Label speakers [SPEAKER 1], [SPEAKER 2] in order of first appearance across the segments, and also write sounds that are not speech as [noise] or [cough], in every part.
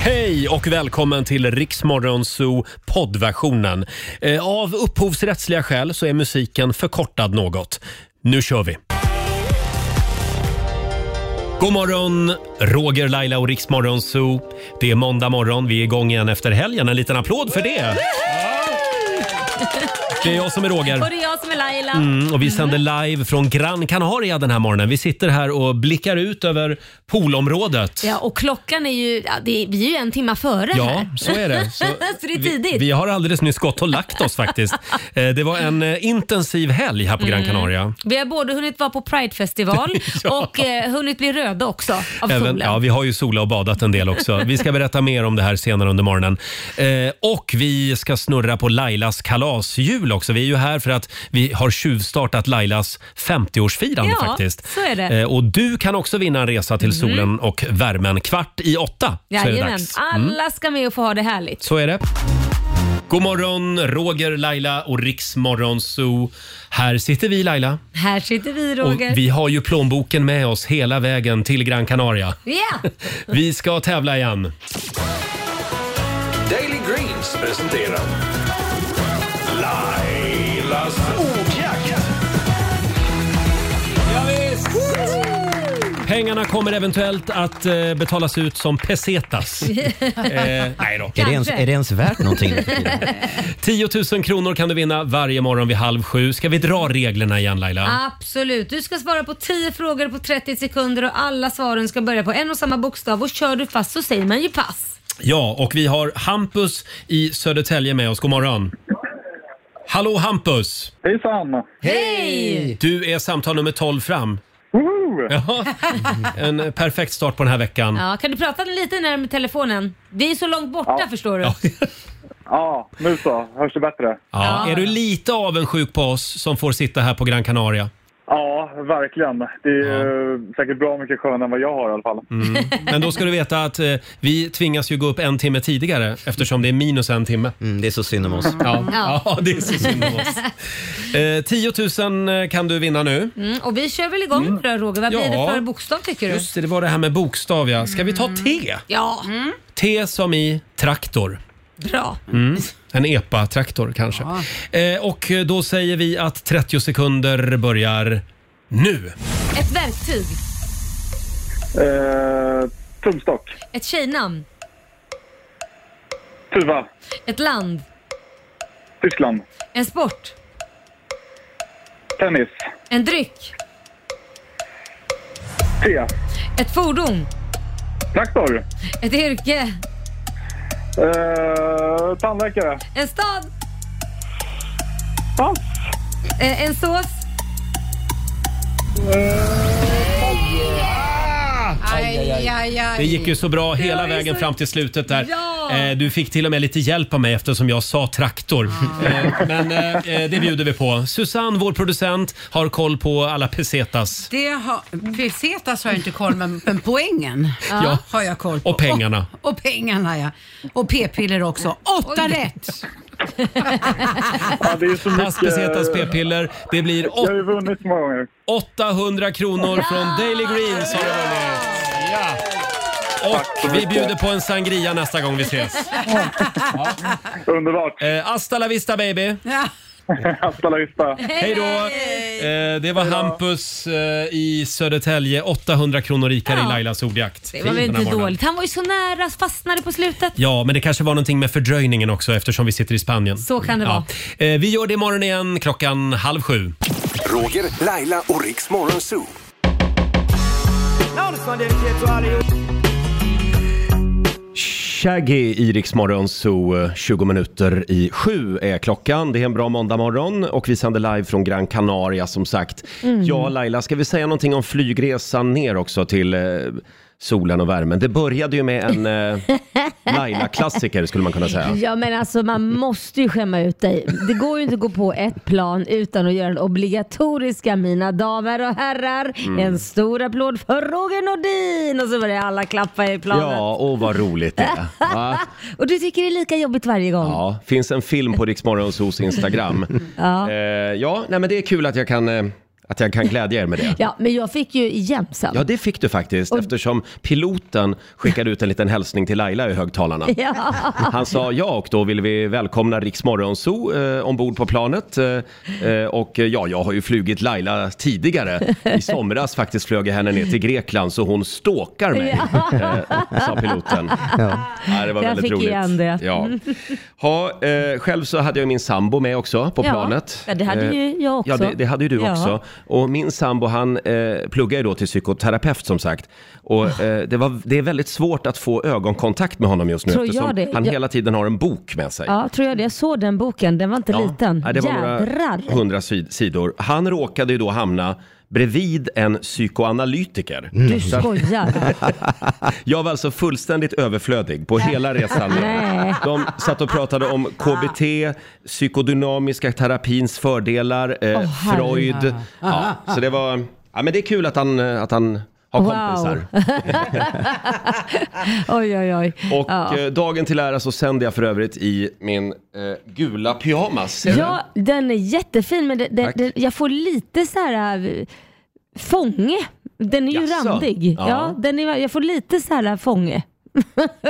[SPEAKER 1] Hej och välkommen till Riksmorgon Zoo poddversionen. Eh, Av upphovsrättsliga skäl så är musiken förkortad något. Nu kör vi! God morgon, Roger, Laila och Riksmorgon Zoo. Det är måndag morgon, vi är igång igen efter helgen. En liten applåd för det! Det är jag som är Roger.
[SPEAKER 2] [laughs] Och det är jag som är Laila.
[SPEAKER 1] Mm, och vi sänder live från Gran Canaria den här morgonen. Vi sitter här och blickar ut över poolområdet.
[SPEAKER 2] Ja, och klockan är ju, ja, det är, vi är ju en timma före
[SPEAKER 1] Ja,
[SPEAKER 2] här.
[SPEAKER 1] så är
[SPEAKER 2] [laughs]
[SPEAKER 1] det. Så
[SPEAKER 2] Så det är tidigt.
[SPEAKER 1] Vi, vi har alldeles nyss gått och lagt oss
[SPEAKER 2] [laughs]
[SPEAKER 1] faktiskt. Eh, Det var en eh, intensiv helg här på Gran
[SPEAKER 2] Mm.
[SPEAKER 1] Canaria.
[SPEAKER 2] Vi har både hunnit vara
[SPEAKER 1] [laughs]
[SPEAKER 2] på Pridefestival och eh, hunnit bli röda också av
[SPEAKER 1] Även,
[SPEAKER 2] solen.
[SPEAKER 1] ja, vi har ju solat och badat en del också. Vi ska berätta mer om det här senare under morgonen. Eh, och vi ska snurra på Lailas kalashjul också. Vi är ju här för att vi har tjuvstartat Lailas 50-årsfirande
[SPEAKER 2] Ja,
[SPEAKER 1] faktiskt.
[SPEAKER 2] så är det. Mhm.
[SPEAKER 1] Eh, och du kan också vinna en resa till solen och värmen. Kvart i åtta så är det
[SPEAKER 2] Jajamän.
[SPEAKER 1] dags. Mm.
[SPEAKER 2] Alla ska med och få ha det härligt.
[SPEAKER 1] Så är det. God morgon, Roger, Laila och Riksmorgon Zoo. Här sitter vi, Laila.
[SPEAKER 2] Här sitter vi
[SPEAKER 1] Och
[SPEAKER 2] Roger.
[SPEAKER 1] vi har ju plånboken med oss hela vägen till Gran Canaria. [laughs]
[SPEAKER 2] Ja.
[SPEAKER 1] Vi ska tävla igen.
[SPEAKER 3] Daily Greens presenterar Lailas ordjakt.
[SPEAKER 1] Pengarna kommer eventuellt att eh, betalas ut som pesetas. eh, nej då.
[SPEAKER 4] Är det, ens,
[SPEAKER 2] Kanske.
[SPEAKER 4] är det ens värt någonting?
[SPEAKER 1] 10 000 kronor kan du vinna varje morgon vid halv sju. Ska vi dra reglerna igen, Laila?
[SPEAKER 2] Absolut. Du ska svara på 10 frågor på 30 sekunder och alla svaren ska börja på en och samma bokstav och kör du fast så säger man ju pass.
[SPEAKER 1] Ja, och vi har Hampus i Södertälje med oss. God morgon. Hallå, Hampus!
[SPEAKER 5] Hejsan!
[SPEAKER 2] Hej!
[SPEAKER 1] Du är samtal nummer 12 fram. Ja, en perfekt start på den här veckan.
[SPEAKER 2] Ja, kan du prata lite närmare med telefonen? Det är så långt borta förstår du.
[SPEAKER 1] Ja.
[SPEAKER 5] Ja, nu så. Hörs det bättre?
[SPEAKER 1] Ja. Är du lite avundsjuk på oss som får sitta här på Gran Canaria?
[SPEAKER 5] Ja, verkligen. Det är eh, säkert bra mycket skönare än vad jag har i alla fall.
[SPEAKER 1] Men då ska du veta att eh, vi tvingas ju gå upp en timme tidigare eftersom det är minus en timme.
[SPEAKER 4] Mm, det är så synd om oss.
[SPEAKER 1] Ja, ja det är så synd om oss. Eh, 10 000 kan du vinna nu.
[SPEAKER 2] Mm, och vi kör väl igång då Roger? Vad
[SPEAKER 1] Ja.
[SPEAKER 2] blir det för bokstav tycker du?
[SPEAKER 1] Just det, det var det här med bokstav ja. Ska vi ta T?
[SPEAKER 2] Ja,
[SPEAKER 1] T som i traktor.
[SPEAKER 2] Mm. bra.
[SPEAKER 1] Mm. En EPA-traktor kanske. Eh, och då säger vi att 30 sekunder börjar nu.
[SPEAKER 2] Ett verktyg.
[SPEAKER 5] Eh, tumstock.
[SPEAKER 2] Ett tjejnamn.
[SPEAKER 5] Tuva.
[SPEAKER 2] Ett land.
[SPEAKER 5] Tyskland.
[SPEAKER 2] En sport.
[SPEAKER 5] Tennis.
[SPEAKER 2] En dryck.
[SPEAKER 5] T.
[SPEAKER 2] Ett fordon.
[SPEAKER 5] Traktor.
[SPEAKER 2] Ett yrke.
[SPEAKER 5] Eh, tandläkare.
[SPEAKER 2] En stad.
[SPEAKER 5] Pass.
[SPEAKER 2] Eh, en sås.
[SPEAKER 1] Det gick ju så bra hela
[SPEAKER 2] var ju
[SPEAKER 1] vägen
[SPEAKER 2] så-
[SPEAKER 1] fram till slutet där.
[SPEAKER 2] Ja.
[SPEAKER 1] Eh, du fick till och med lite hjälp av mig eftersom jag sa traktor.
[SPEAKER 2] Ah.
[SPEAKER 1] Eh, men eh, eh, det bjuder vi på. Susanne, vår producent, har koll på alla pesetas.
[SPEAKER 6] Det har, pesetas har jag inte koll med, men poängen
[SPEAKER 1] Ja.
[SPEAKER 6] har jag koll på.
[SPEAKER 1] Och pengarna.
[SPEAKER 6] Och, och pengarna ja. Och p-piller också. Åtta rätt!
[SPEAKER 5] Ja, det är så mycket...
[SPEAKER 1] Pass, pesetas, p-piller. Det blir
[SPEAKER 5] Jag har ju vunnit så många gånger.
[SPEAKER 1] 800 kronor från Daily Greens har du vunnit. Ja.
[SPEAKER 5] så
[SPEAKER 1] Och vi
[SPEAKER 5] mycket.
[SPEAKER 1] bjuder på en sangria nästa gång vi
[SPEAKER 2] [laughs]
[SPEAKER 1] ses.
[SPEAKER 5] Underbart. [laughs]
[SPEAKER 1] Eh, hasta la vista baby.
[SPEAKER 6] Ja.
[SPEAKER 5] Hasta la vista.
[SPEAKER 1] Hej då! Eh, det var Hampus eh, i Södertälje. 800 kronor rikare i
[SPEAKER 2] Ja.
[SPEAKER 1] Lailas ordjakt.
[SPEAKER 2] Det var väl
[SPEAKER 1] Den här
[SPEAKER 2] inte
[SPEAKER 1] morgonen.
[SPEAKER 2] dåligt. Han var ju så nära, fastnade på slutet.
[SPEAKER 1] Ja, men det kanske var någonting med fördröjningen också eftersom vi sitter i Spanien.
[SPEAKER 2] Så kan det
[SPEAKER 1] ja. Eh, Vi gör det imorgon igen klockan halv sju.
[SPEAKER 3] Roger, Laila och Riks Morgonzoo.
[SPEAKER 1] Shaggy i Rix Morgon Zoo, eh, 20 minuter i sju är klockan. Det är en bra måndagmorgon och vi sänder live från Gran Canaria som sagt.
[SPEAKER 2] Mm.
[SPEAKER 1] Ja, Laila, ska vi säga någonting om flygresan ner också till eh, solen och värmen? Det började ju med en eh,
[SPEAKER 2] [laughs]
[SPEAKER 1] Laila-klassiker skulle man kunna säga.
[SPEAKER 7] Ja men alltså man måste ju skämma ut dig. Det går ju inte att gå på ett plan utan att göra den obligatoriska mina damer och herrar.
[SPEAKER 1] Mm.
[SPEAKER 7] En stor applåd för Roger Nordin! Och så börjar alla klappa i planet.
[SPEAKER 1] Ja, och vad roligt det är. Va?
[SPEAKER 7] [laughs] Och du tycker det är lika jobbigt varje gång.
[SPEAKER 1] Ja, finns en film på Riksmorgonsos Instagram. ja. Eh, ja, nej men det är kul att jag kan eh, att jag kan glädja er med det.
[SPEAKER 2] Ja, men jag fick ju igen sen.
[SPEAKER 1] Ja, det fick du faktiskt eftersom piloten skickade ut en liten hälsning till Laila i högtalarna.
[SPEAKER 2] Ja.
[SPEAKER 1] Han sa ja och då vill vi välkomna Riks Morgonzoo eh, ombord på planet. Eh, eh, och eh, ja, jag har ju flugit Laila tidigare. I somras faktiskt flög jag henne ner till Grekland så hon ståkar mig, eh, sa piloten.
[SPEAKER 8] Ja.
[SPEAKER 1] Ja, det var
[SPEAKER 2] Jag
[SPEAKER 1] väldigt
[SPEAKER 2] fick
[SPEAKER 1] roligt.
[SPEAKER 2] igen det.
[SPEAKER 1] Ja. Ha, eh, själv så hade jag min sambo med också på
[SPEAKER 2] Ja,
[SPEAKER 1] planet.
[SPEAKER 2] ja, det hade
[SPEAKER 1] Eh,
[SPEAKER 2] ju jag också.
[SPEAKER 1] Ja, det, det hade ju du
[SPEAKER 2] Ja.
[SPEAKER 1] också. Och min sambo han eh, pluggar ju då till psykoterapeut som sagt.
[SPEAKER 2] Ah.
[SPEAKER 1] Och eh, det, var, det är väldigt svårt att få ögonkontakt med honom just nu
[SPEAKER 2] Tror jag
[SPEAKER 1] eftersom
[SPEAKER 2] det.
[SPEAKER 1] han
[SPEAKER 2] Jag-
[SPEAKER 1] hela tiden har en bok med sig.
[SPEAKER 2] Ja, tror jag det. Jag såg den boken, den var inte
[SPEAKER 1] Ja.
[SPEAKER 2] liten.
[SPEAKER 1] Nej, det var
[SPEAKER 2] Jädrar!
[SPEAKER 1] några hundra sid- sidor. Han råkade ju då hamna bredvid en psykoanalytiker. [laughs]
[SPEAKER 2] Du skojar.
[SPEAKER 1] Jag var alltså fullständigt överflödig på hela resan.
[SPEAKER 2] [laughs] Nej. Ah.
[SPEAKER 1] De satt och pratade om KBT, psykodynamiska terapins fördelar, eh,
[SPEAKER 2] Åh,
[SPEAKER 1] Freud.
[SPEAKER 6] herre.
[SPEAKER 1] Ja, så det var... Ja, men det är kul att han, eh, att han har
[SPEAKER 2] Wow. [laughs]
[SPEAKER 1] kompisar.
[SPEAKER 2] Oj, oj, oj.
[SPEAKER 1] Och
[SPEAKER 2] ja.
[SPEAKER 1] eh, dagen till ära så sänder jag för övrigt i min eh, gula pyjamas. Ser du
[SPEAKER 2] ja, den är jättefin men det, det,
[SPEAKER 1] Tack.
[SPEAKER 2] det, jag får lite så här äh, fånge. Den är ju
[SPEAKER 1] Jaså?
[SPEAKER 2] randig.
[SPEAKER 1] Ja.
[SPEAKER 2] Ja. den är, jag får lite så här fånge.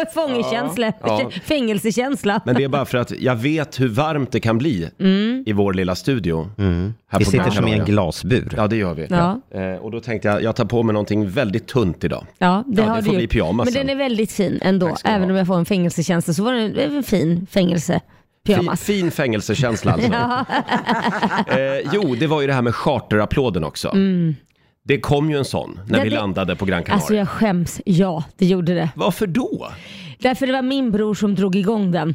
[SPEAKER 2] [laughs] Fångekänsla,
[SPEAKER 1] Ja.
[SPEAKER 2] fängelsekänsla.
[SPEAKER 1] Men det är bara för att jag vet hur varmt det kan bli
[SPEAKER 2] Mm.
[SPEAKER 1] i vår lilla studio. Här
[SPEAKER 8] Mm. Vi
[SPEAKER 1] på
[SPEAKER 8] sitter
[SPEAKER 1] Gran
[SPEAKER 8] som i en
[SPEAKER 1] Canaria.
[SPEAKER 8] glasbur.
[SPEAKER 1] Ja, det gör vi.
[SPEAKER 2] Ja.
[SPEAKER 1] Eh, och då tänkte jag, jag tar på mig någonting väldigt tunt idag.
[SPEAKER 2] Ja, det
[SPEAKER 1] Ja, det
[SPEAKER 2] har
[SPEAKER 1] får
[SPEAKER 2] du
[SPEAKER 1] bli
[SPEAKER 2] ju.
[SPEAKER 1] pyjamas
[SPEAKER 2] Men
[SPEAKER 1] sen.
[SPEAKER 2] den är väldigt fin ändå.
[SPEAKER 1] Tack ska du
[SPEAKER 2] Även
[SPEAKER 1] ha.
[SPEAKER 2] om jag får en fängelsekänsla så var den det är en fin
[SPEAKER 1] Fin,
[SPEAKER 2] fängelsepyjamas.
[SPEAKER 1] fin fängelsekänsla
[SPEAKER 2] [laughs]
[SPEAKER 1] alltså. [laughs] eh, jo, det var ju det här med charterapplåden också. Det kom ju en sån när
[SPEAKER 2] Mm. Ja,
[SPEAKER 1] vi
[SPEAKER 2] det-
[SPEAKER 1] landade på Gran Canaria.
[SPEAKER 2] Alltså jag skäms. Ja, det gjorde det.
[SPEAKER 1] Varför då?
[SPEAKER 2] Därför det var min bror som drog igång den.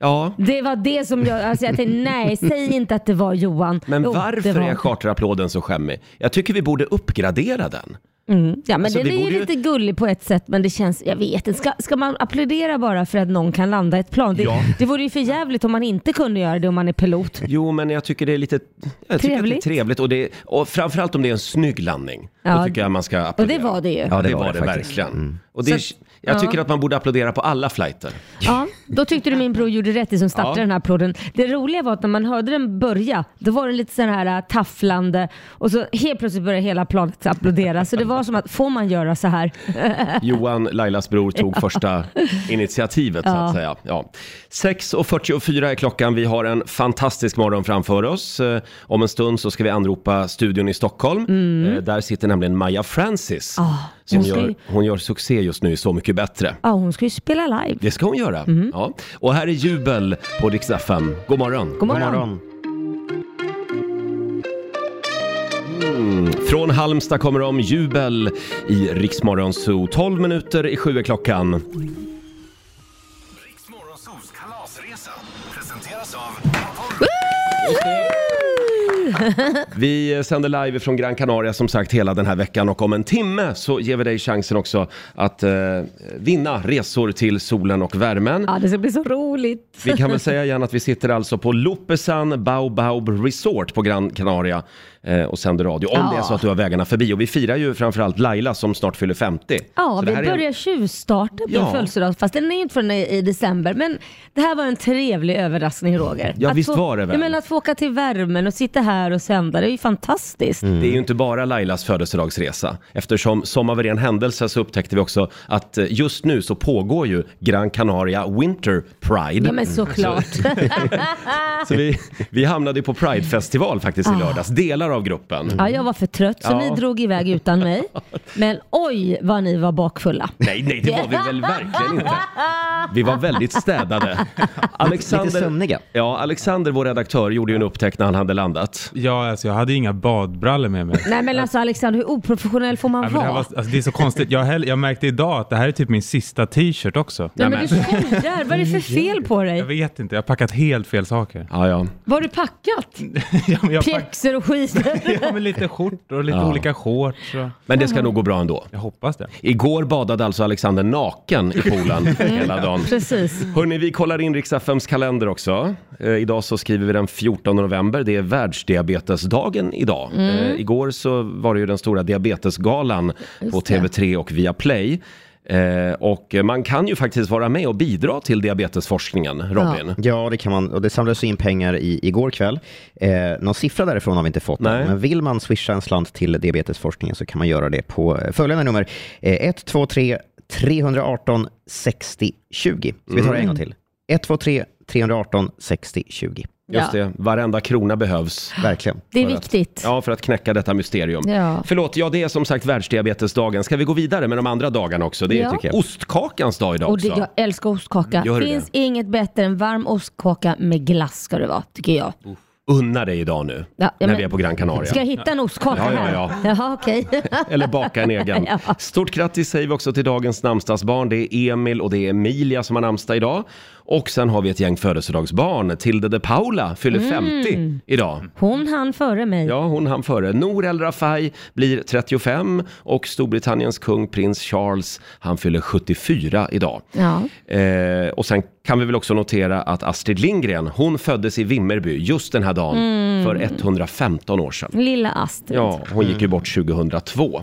[SPEAKER 1] Ja,
[SPEAKER 2] Det var det som jag, alltså
[SPEAKER 1] [laughs]
[SPEAKER 2] jag tänkte nej, säg inte att det var Johan.
[SPEAKER 1] men
[SPEAKER 2] Jo, det
[SPEAKER 1] varför
[SPEAKER 2] var-
[SPEAKER 1] är charterapplåden så skämmig? Jag tycker vi borde uppgradera den.
[SPEAKER 2] Mm. Ja men
[SPEAKER 1] Alltså,
[SPEAKER 2] den
[SPEAKER 1] vi
[SPEAKER 2] är ju
[SPEAKER 1] borde ju-
[SPEAKER 2] lite gullig på ett sätt men det känns, jag vet inte. Ska, ska man applådera bara för att någon kan landa ett plan? Det,
[SPEAKER 1] Ja.
[SPEAKER 2] det vore ju för jävligt om man inte kunde göra det om man är pilot.
[SPEAKER 1] Jo, men jag tycker det är lite jag tycker Att det är
[SPEAKER 2] Trevligt.
[SPEAKER 1] trevligt. Och, det, och framförallt om det är en snygg landning. Då
[SPEAKER 2] Ja.
[SPEAKER 1] tycker jag man ska
[SPEAKER 2] Och
[SPEAKER 1] applådera.
[SPEAKER 2] det var det ju.
[SPEAKER 1] Ja,
[SPEAKER 2] Ja,
[SPEAKER 1] det, var det,
[SPEAKER 8] faktiskt.
[SPEAKER 1] verkligen. Mm. Och det,
[SPEAKER 2] Så-
[SPEAKER 1] jag
[SPEAKER 2] ja.
[SPEAKER 1] tycker att man borde applådera på alla flighter.
[SPEAKER 2] då tyckte du min bror gjorde rätt i som
[SPEAKER 1] Ja.
[SPEAKER 2] startade den här applåden. Det roliga var att när man hörde den börja, då var den lite sån här äh, tafflande och så helt plötsligt började hela planet applådera. Så det var som att, får man göra så här?
[SPEAKER 1] Johan, Lailas bror,
[SPEAKER 2] [laughs]
[SPEAKER 1] tog första initiativet så att
[SPEAKER 2] Ja.
[SPEAKER 1] säga. Ja. 6.44 är klockan. Vi har en fantastisk morgon framför oss. Eh, Om en stund så ska vi anropa studion i Stockholm. Eh, Där sitter nämligen Maja Francis. som
[SPEAKER 2] Mm. Ah, hon ska
[SPEAKER 1] gör,
[SPEAKER 2] ju-
[SPEAKER 1] hon gör succé just nu i Så mycket bättre.
[SPEAKER 2] Ja, hon ska ju spela live.
[SPEAKER 1] Det ska hon göra.
[SPEAKER 2] Mm.
[SPEAKER 1] Ja. Och här är Jubel på Rix FM. God morgon.
[SPEAKER 2] God
[SPEAKER 8] God
[SPEAKER 2] morgon.
[SPEAKER 8] morgon.
[SPEAKER 1] Från Halmstad kommer de Jubel i Rix Morgon Zoo. 12 minuter i sju är klockan.
[SPEAKER 3] Riksmorgonsols kalasresa presenteras av
[SPEAKER 1] Vi sänder live från Gran Canaria som sagt hela den här veckan och om en timme så ger vi dig chansen också att eh, vinna resor till solen och värmen.
[SPEAKER 2] Ja, det ska bli så roligt.
[SPEAKER 1] Vi kan väl säga igen att vi sitter alltså på Lopesan Baobab Resort på Gran Canaria eh, och sänder radio. Om
[SPEAKER 2] Ja.
[SPEAKER 1] det är så att du har vägarna förbi. Och vi firar ju framförallt Laila som snart fyller 50.
[SPEAKER 2] Ja,
[SPEAKER 1] Så det
[SPEAKER 2] vi
[SPEAKER 1] här är en-
[SPEAKER 2] börjar tjuvstarta på
[SPEAKER 1] Ja.
[SPEAKER 2] ja. födelsedag, fast den är ju inte förrän i, i december. Men det här var en trevlig överraskning Roger.
[SPEAKER 1] Ja,
[SPEAKER 2] att
[SPEAKER 1] visst
[SPEAKER 2] få,
[SPEAKER 1] var det väl?
[SPEAKER 2] Jag menar att få åka till värmen och sitta här och sända, det är ju fantastiskt.
[SPEAKER 1] Det är ju inte bara Lailas födelsedagsresa. Eftersom som av en ren händelse så upptäckte vi också att eh, just nu så pågår ju Gran Canaria Winter Pride.
[SPEAKER 2] Ja men såklart.
[SPEAKER 1] Så vi, vi hamnade ju på Pride-festival faktiskt i lördags, delar av gruppen.
[SPEAKER 2] ja, jag var för trött så
[SPEAKER 1] Mm. Ja.
[SPEAKER 2] ni drog iväg utan mig.
[SPEAKER 1] [laughs]
[SPEAKER 2] Men oj vad ni var bakfulla.
[SPEAKER 1] Nej, nej, det var vi väl verkligen inte. Vi var väldigt städade. Alexander,
[SPEAKER 8] Lite sömniga.
[SPEAKER 1] Ja, Alexander, vår redaktör, gjorde ju en upptäckt när han hade landat.
[SPEAKER 9] Ja, alltså jag hade inga badbrallor med
[SPEAKER 2] [laughs]
[SPEAKER 9] mig.
[SPEAKER 2] Nej men alltså Alexander, hur oprofessionell får man
[SPEAKER 9] Nej, men det,
[SPEAKER 2] vara?
[SPEAKER 9] här var, alltså, det är så konstigt. Jag, häll- jag märkte idag att det här är typ min sista t-shirt också.
[SPEAKER 2] Nej men du skojar, vad är det för
[SPEAKER 1] Mm.
[SPEAKER 2] fel på
[SPEAKER 9] Jag
[SPEAKER 2] dig?
[SPEAKER 9] vet inte, jag har packat helt fel saker. [laughs]
[SPEAKER 1] Ja, ja.
[SPEAKER 2] Vad har du packat?
[SPEAKER 9] ja, men jag har packat
[SPEAKER 2] Pjäxor och skit.
[SPEAKER 9] [laughs] ja, men lite skjortor och lite olika shorts. Och...
[SPEAKER 1] Men det ska nog gå bra ändå.
[SPEAKER 9] Jag hoppas det.
[SPEAKER 1] Igår badade alltså Alexander naken i poolen [laughs] hela dagen.
[SPEAKER 2] Precis.
[SPEAKER 1] Hörni, vi kollar in Riks-FMs kalender också. Eh, idag så skriver vi den 14 november. Det är världsdiabetesdagen idag.
[SPEAKER 2] Mm.
[SPEAKER 1] Eh, igår så var det ju den stora diabetesgalan på TV3 och Viaplay. Eh, och man kan ju faktiskt vara med och bidra till diabetesforskningen, Robin.
[SPEAKER 8] Ja, det kan man. Och det samlades in pengar i, igår kväll. Eh, någon siffra därifrån har vi inte fått än,
[SPEAKER 1] Nej.
[SPEAKER 8] men vill man swisha en slant till diabetesforskningen så kan man göra det på eh, följande nummer. Eh, 123 318 60 20. Ska vi ta det en gång till? 123 318 60 20.
[SPEAKER 1] Just det, varenda krona behövs.
[SPEAKER 8] Verkligen.
[SPEAKER 2] Det är
[SPEAKER 1] För att-
[SPEAKER 2] viktigt.
[SPEAKER 1] Ja, för att knäcka detta mysterium.
[SPEAKER 2] Ja.
[SPEAKER 1] Förlåt, ja det är som sagt världsdiabetesdagen. Ska vi gå vidare med de andra dagarna också? Det är
[SPEAKER 2] Ja.
[SPEAKER 1] tycker jag. ostkakans dag idag
[SPEAKER 2] Och det,
[SPEAKER 1] också.
[SPEAKER 2] jag älskar ostkaka.
[SPEAKER 1] Gör du
[SPEAKER 2] Finns inget bättre än varm ostkaka med glass ska det vara, tycker jag.
[SPEAKER 1] Unna dig idag nu,
[SPEAKER 2] Ja, ja,
[SPEAKER 1] när
[SPEAKER 2] men-
[SPEAKER 1] vi är på Gran Canaria.
[SPEAKER 2] Ska jag hitta en ostkaka
[SPEAKER 1] Ja, ja,
[SPEAKER 2] här?
[SPEAKER 1] ja.
[SPEAKER 2] Jaha,
[SPEAKER 1] [laughs]
[SPEAKER 2] okej.
[SPEAKER 1] Eller baka en egen.
[SPEAKER 2] Ja.
[SPEAKER 1] Stort grattis säger vi också till dagens namnsdagsbarn. Det är Emil och det är Emilia som har namnsdag idag. Och sen har vi ett gäng födelsedagsbarn. Tilde de Paula fyller 50 idag.
[SPEAKER 2] Hon hann före mig.
[SPEAKER 1] Ja, hon hann före. Nour El Rafai blir 35 och Storbritanniens kung prins Charles, han fyller 74 idag.
[SPEAKER 2] Ja.
[SPEAKER 1] Eh, och sen kan vi väl också notera att Astrid Lindgren, hon föddes i Vimmerby just den här dagen för 115 år sedan.
[SPEAKER 2] Lilla Astrid.
[SPEAKER 1] Ja, hon
[SPEAKER 2] Mm.
[SPEAKER 1] gick ju bort 2002.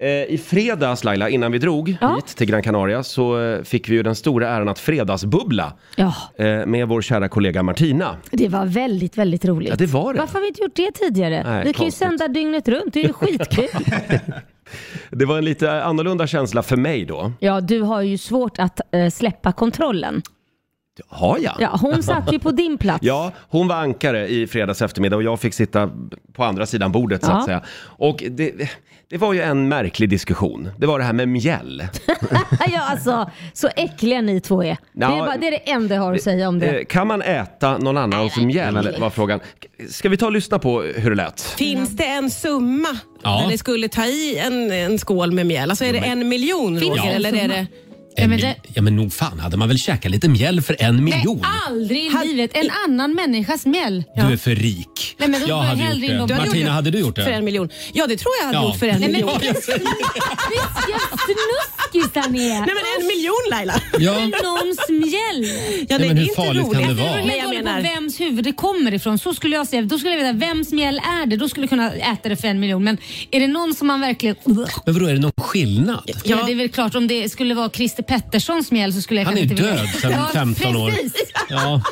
[SPEAKER 1] Eh, I fredags Laila, innan vi drog
[SPEAKER 2] Ja.
[SPEAKER 1] hit till Gran Canaria så eh, fick vi ju den stora äran att fredagsbubbla
[SPEAKER 2] Ja,
[SPEAKER 1] eh, med vår kära kollega Martina.
[SPEAKER 2] det var väldigt, väldigt roligt.
[SPEAKER 1] Ja, det var det.
[SPEAKER 2] Varför har vi inte gjort det tidigare?
[SPEAKER 1] Nej,
[SPEAKER 2] vi kan ju
[SPEAKER 1] konstigt.
[SPEAKER 2] sända dygnet runt, det är ju skitkul.
[SPEAKER 1] Det var en lite annorlunda känsla för mig då.
[SPEAKER 2] ja, du har ju svårt att eh, släppa kontrollen.
[SPEAKER 1] Har jag?
[SPEAKER 2] Ja, hon satt ju på din plats.
[SPEAKER 1] Ja, hon var ankare i fredags eftermiddag och jag fick sitta på andra sidan bordet så
[SPEAKER 2] Ja.
[SPEAKER 1] att säga. Och det, det var ju en märklig diskussion. Det var det här med mjäll.
[SPEAKER 2] [laughs] ja, alltså så äckliga ni två är.
[SPEAKER 1] Ja,
[SPEAKER 2] det, är bara, det är det enda jag har att säga om det.
[SPEAKER 1] Eh, Kan man äta någon annans mjäll? var frågan. Ska vi ta och lyssna på hur det lät?
[SPEAKER 10] Finns det en summa
[SPEAKER 11] Ja.
[SPEAKER 10] när ni skulle ta i en, en skål med mjöl? Alltså är det en miljon
[SPEAKER 6] Finns
[SPEAKER 10] Roger?
[SPEAKER 6] det en
[SPEAKER 10] eller är
[SPEAKER 6] summa?
[SPEAKER 10] det...
[SPEAKER 11] En
[SPEAKER 6] men
[SPEAKER 11] mil-
[SPEAKER 6] det-
[SPEAKER 11] Ja men nog fan hade man väl käkat lite mjäll för en miljon?
[SPEAKER 12] Aldrig i livet. En annan människas mjäll.
[SPEAKER 11] Du är för rik.
[SPEAKER 12] Nej, men då
[SPEAKER 11] jag
[SPEAKER 12] var
[SPEAKER 11] hade
[SPEAKER 12] hellre
[SPEAKER 11] gjort
[SPEAKER 12] inom-
[SPEAKER 11] det.
[SPEAKER 12] Du hade
[SPEAKER 11] Martina,
[SPEAKER 10] gjort det
[SPEAKER 11] hade du gjort det?
[SPEAKER 10] För en miljon? Ja, det tror jag hade gjort för en
[SPEAKER 11] Nej, men-
[SPEAKER 10] miljon. [laughs]
[SPEAKER 11] Ja, jag säger det.
[SPEAKER 12] Vilka snuskisar ni är.
[SPEAKER 10] Nej men en miljon Laila!
[SPEAKER 11] ja.
[SPEAKER 12] Någons mjäll.
[SPEAKER 10] Ja,
[SPEAKER 11] men
[SPEAKER 10] det är
[SPEAKER 11] hur
[SPEAKER 10] inte
[SPEAKER 11] farligt kan
[SPEAKER 10] roligt.
[SPEAKER 11] det
[SPEAKER 12] Det
[SPEAKER 11] vara?
[SPEAKER 12] beror
[SPEAKER 10] Men
[SPEAKER 12] helt
[SPEAKER 10] jag
[SPEAKER 12] och hållet på
[SPEAKER 10] menar,
[SPEAKER 12] vems huvud det kommer ifrån. Så skulle jag säga. Då skulle jag veta vems mjäll är det. Då skulle jag kunna äta det för en miljon. Men är det någon som man verkligen...
[SPEAKER 11] Men vadå, är det någon skillnad?
[SPEAKER 12] Ja. det är väl klart om det skulle vara Christer Petterssons mjäll så skulle jag
[SPEAKER 11] Han är
[SPEAKER 12] kanske inte
[SPEAKER 11] död
[SPEAKER 12] vilja-
[SPEAKER 11] sedan
[SPEAKER 12] Ja,
[SPEAKER 11] 15 år.
[SPEAKER 12] Precis.
[SPEAKER 11] Ja.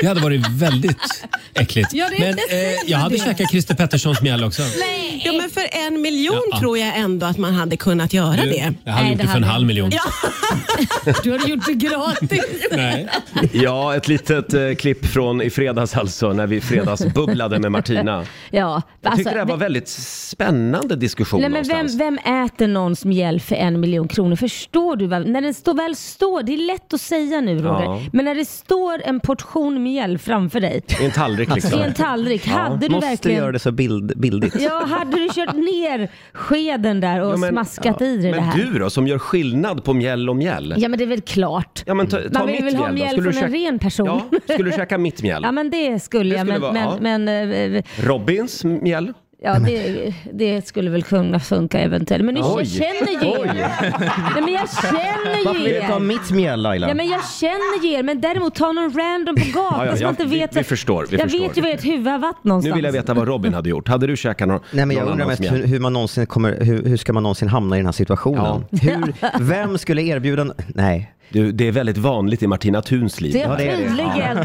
[SPEAKER 11] Det hade varit väldigt äckligt.
[SPEAKER 12] Ja, det är
[SPEAKER 11] men eh,
[SPEAKER 12] inte snällt
[SPEAKER 11] jag hade
[SPEAKER 12] det.
[SPEAKER 11] käkat Christer Petterssons mjäll också.
[SPEAKER 12] Nej.
[SPEAKER 10] ja, men för en miljon tror jag ändå att man hade kunnat göra det.
[SPEAKER 11] Jag hade
[SPEAKER 12] Nej,
[SPEAKER 11] gjort
[SPEAKER 12] det
[SPEAKER 11] det för en
[SPEAKER 12] hade-
[SPEAKER 11] halv miljon.
[SPEAKER 12] Du har gjort det gratis.
[SPEAKER 11] Nej.
[SPEAKER 1] Ja, ett litet eh, klipp från i fredags alltså, när vi fredagsbubblade med Martina.
[SPEAKER 2] Ja,
[SPEAKER 1] Jag
[SPEAKER 2] alltså,
[SPEAKER 1] tyckte det här var väldigt spännande diskussion
[SPEAKER 2] Nej, men vem,
[SPEAKER 1] någonstans.
[SPEAKER 2] vem äter någons mjäll för en miljon kronor? Förstår du? Vad, när den står, väl står, det är lätt att säga nu Roger,
[SPEAKER 1] Ja.
[SPEAKER 2] men när det står en portion mjäll framför dig
[SPEAKER 1] I en tallrik
[SPEAKER 2] Alltså, i
[SPEAKER 1] liksom.
[SPEAKER 2] en tallrik, hade du
[SPEAKER 8] Måste
[SPEAKER 2] verkligen...
[SPEAKER 8] göra det så bild, bildigt.
[SPEAKER 2] Ja, hade du kört ner skeden där och
[SPEAKER 1] Ja, men-
[SPEAKER 2] smaskat i dig det
[SPEAKER 1] Men
[SPEAKER 2] här?
[SPEAKER 1] du då, som gör skillnad på mjäll och mjäll?
[SPEAKER 2] Ja, men det är väl klart.
[SPEAKER 1] Ja, men ta, ta
[SPEAKER 2] Man
[SPEAKER 1] mitt
[SPEAKER 2] vill väl ha
[SPEAKER 1] då.
[SPEAKER 2] mjäll
[SPEAKER 1] Skulle du
[SPEAKER 2] från en
[SPEAKER 1] käka-
[SPEAKER 2] ren person.
[SPEAKER 1] Ja, skulle du käka mitt mjäll?
[SPEAKER 2] [laughs] Ja, men det skulle
[SPEAKER 1] Det
[SPEAKER 2] jag.
[SPEAKER 1] skulle
[SPEAKER 2] men,
[SPEAKER 1] vara, ja.
[SPEAKER 2] men, men, eh,
[SPEAKER 1] Robins mjäll?
[SPEAKER 2] Ja, det, det skulle väl kunna funka eventuellt. Men nu
[SPEAKER 1] Oj.
[SPEAKER 2] jag känner ju er. Nej, men jag känner
[SPEAKER 8] Varför
[SPEAKER 2] ju
[SPEAKER 8] vill du ta
[SPEAKER 2] er.
[SPEAKER 8] mitt mjäll Laila?
[SPEAKER 2] Ja, men jag känner ju er, men däremot ta någon random på gatan
[SPEAKER 1] Ja, ja,
[SPEAKER 2] som
[SPEAKER 1] ja,
[SPEAKER 2] man inte
[SPEAKER 1] vi-
[SPEAKER 2] vet.
[SPEAKER 1] vi förstår, vi
[SPEAKER 2] jag
[SPEAKER 1] förstår.
[SPEAKER 2] vet ju var ert huvud har varit någonstans.
[SPEAKER 1] Nu vill jag veta vad Robin hade gjort. Hade du käkat någon,
[SPEAKER 8] Nej, men jag
[SPEAKER 1] någon
[SPEAKER 8] undrar
[SPEAKER 1] annans
[SPEAKER 8] mest
[SPEAKER 1] mjäll?
[SPEAKER 8] hur, hur, man någonsin kommer, hur, hur ska man någonsin hamna i den här situationen? Hur, vem skulle erbjuda... Nej.
[SPEAKER 1] Du, det är väldigt vanligt i Martina Thuns liv.
[SPEAKER 2] Det är
[SPEAKER 8] Ja, det är det.
[SPEAKER 2] tydligen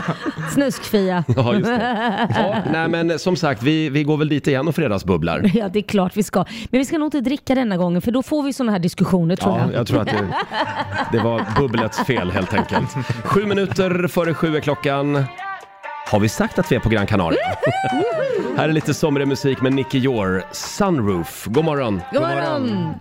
[SPEAKER 2] snuskfia.
[SPEAKER 1] Ja, just
[SPEAKER 2] [laughs]
[SPEAKER 1] det. Ja, nej, men som sagt, vi, vi går väl dit igen och fredagsbubblar.
[SPEAKER 2] [laughs] Ja, det är klart vi ska. Men vi ska nog inte dricka denna gången för då får vi sådana här diskussioner tror
[SPEAKER 1] Ja,
[SPEAKER 2] jag.
[SPEAKER 1] jag tror att det, det var bubblets fel helt enkelt. Sju minuter före sju är klockan. Har vi sagt att vi är på Gran Canaria? Här är lite somrig musik med Nicky Jor, Sunroof. God morgon!
[SPEAKER 2] God morgon!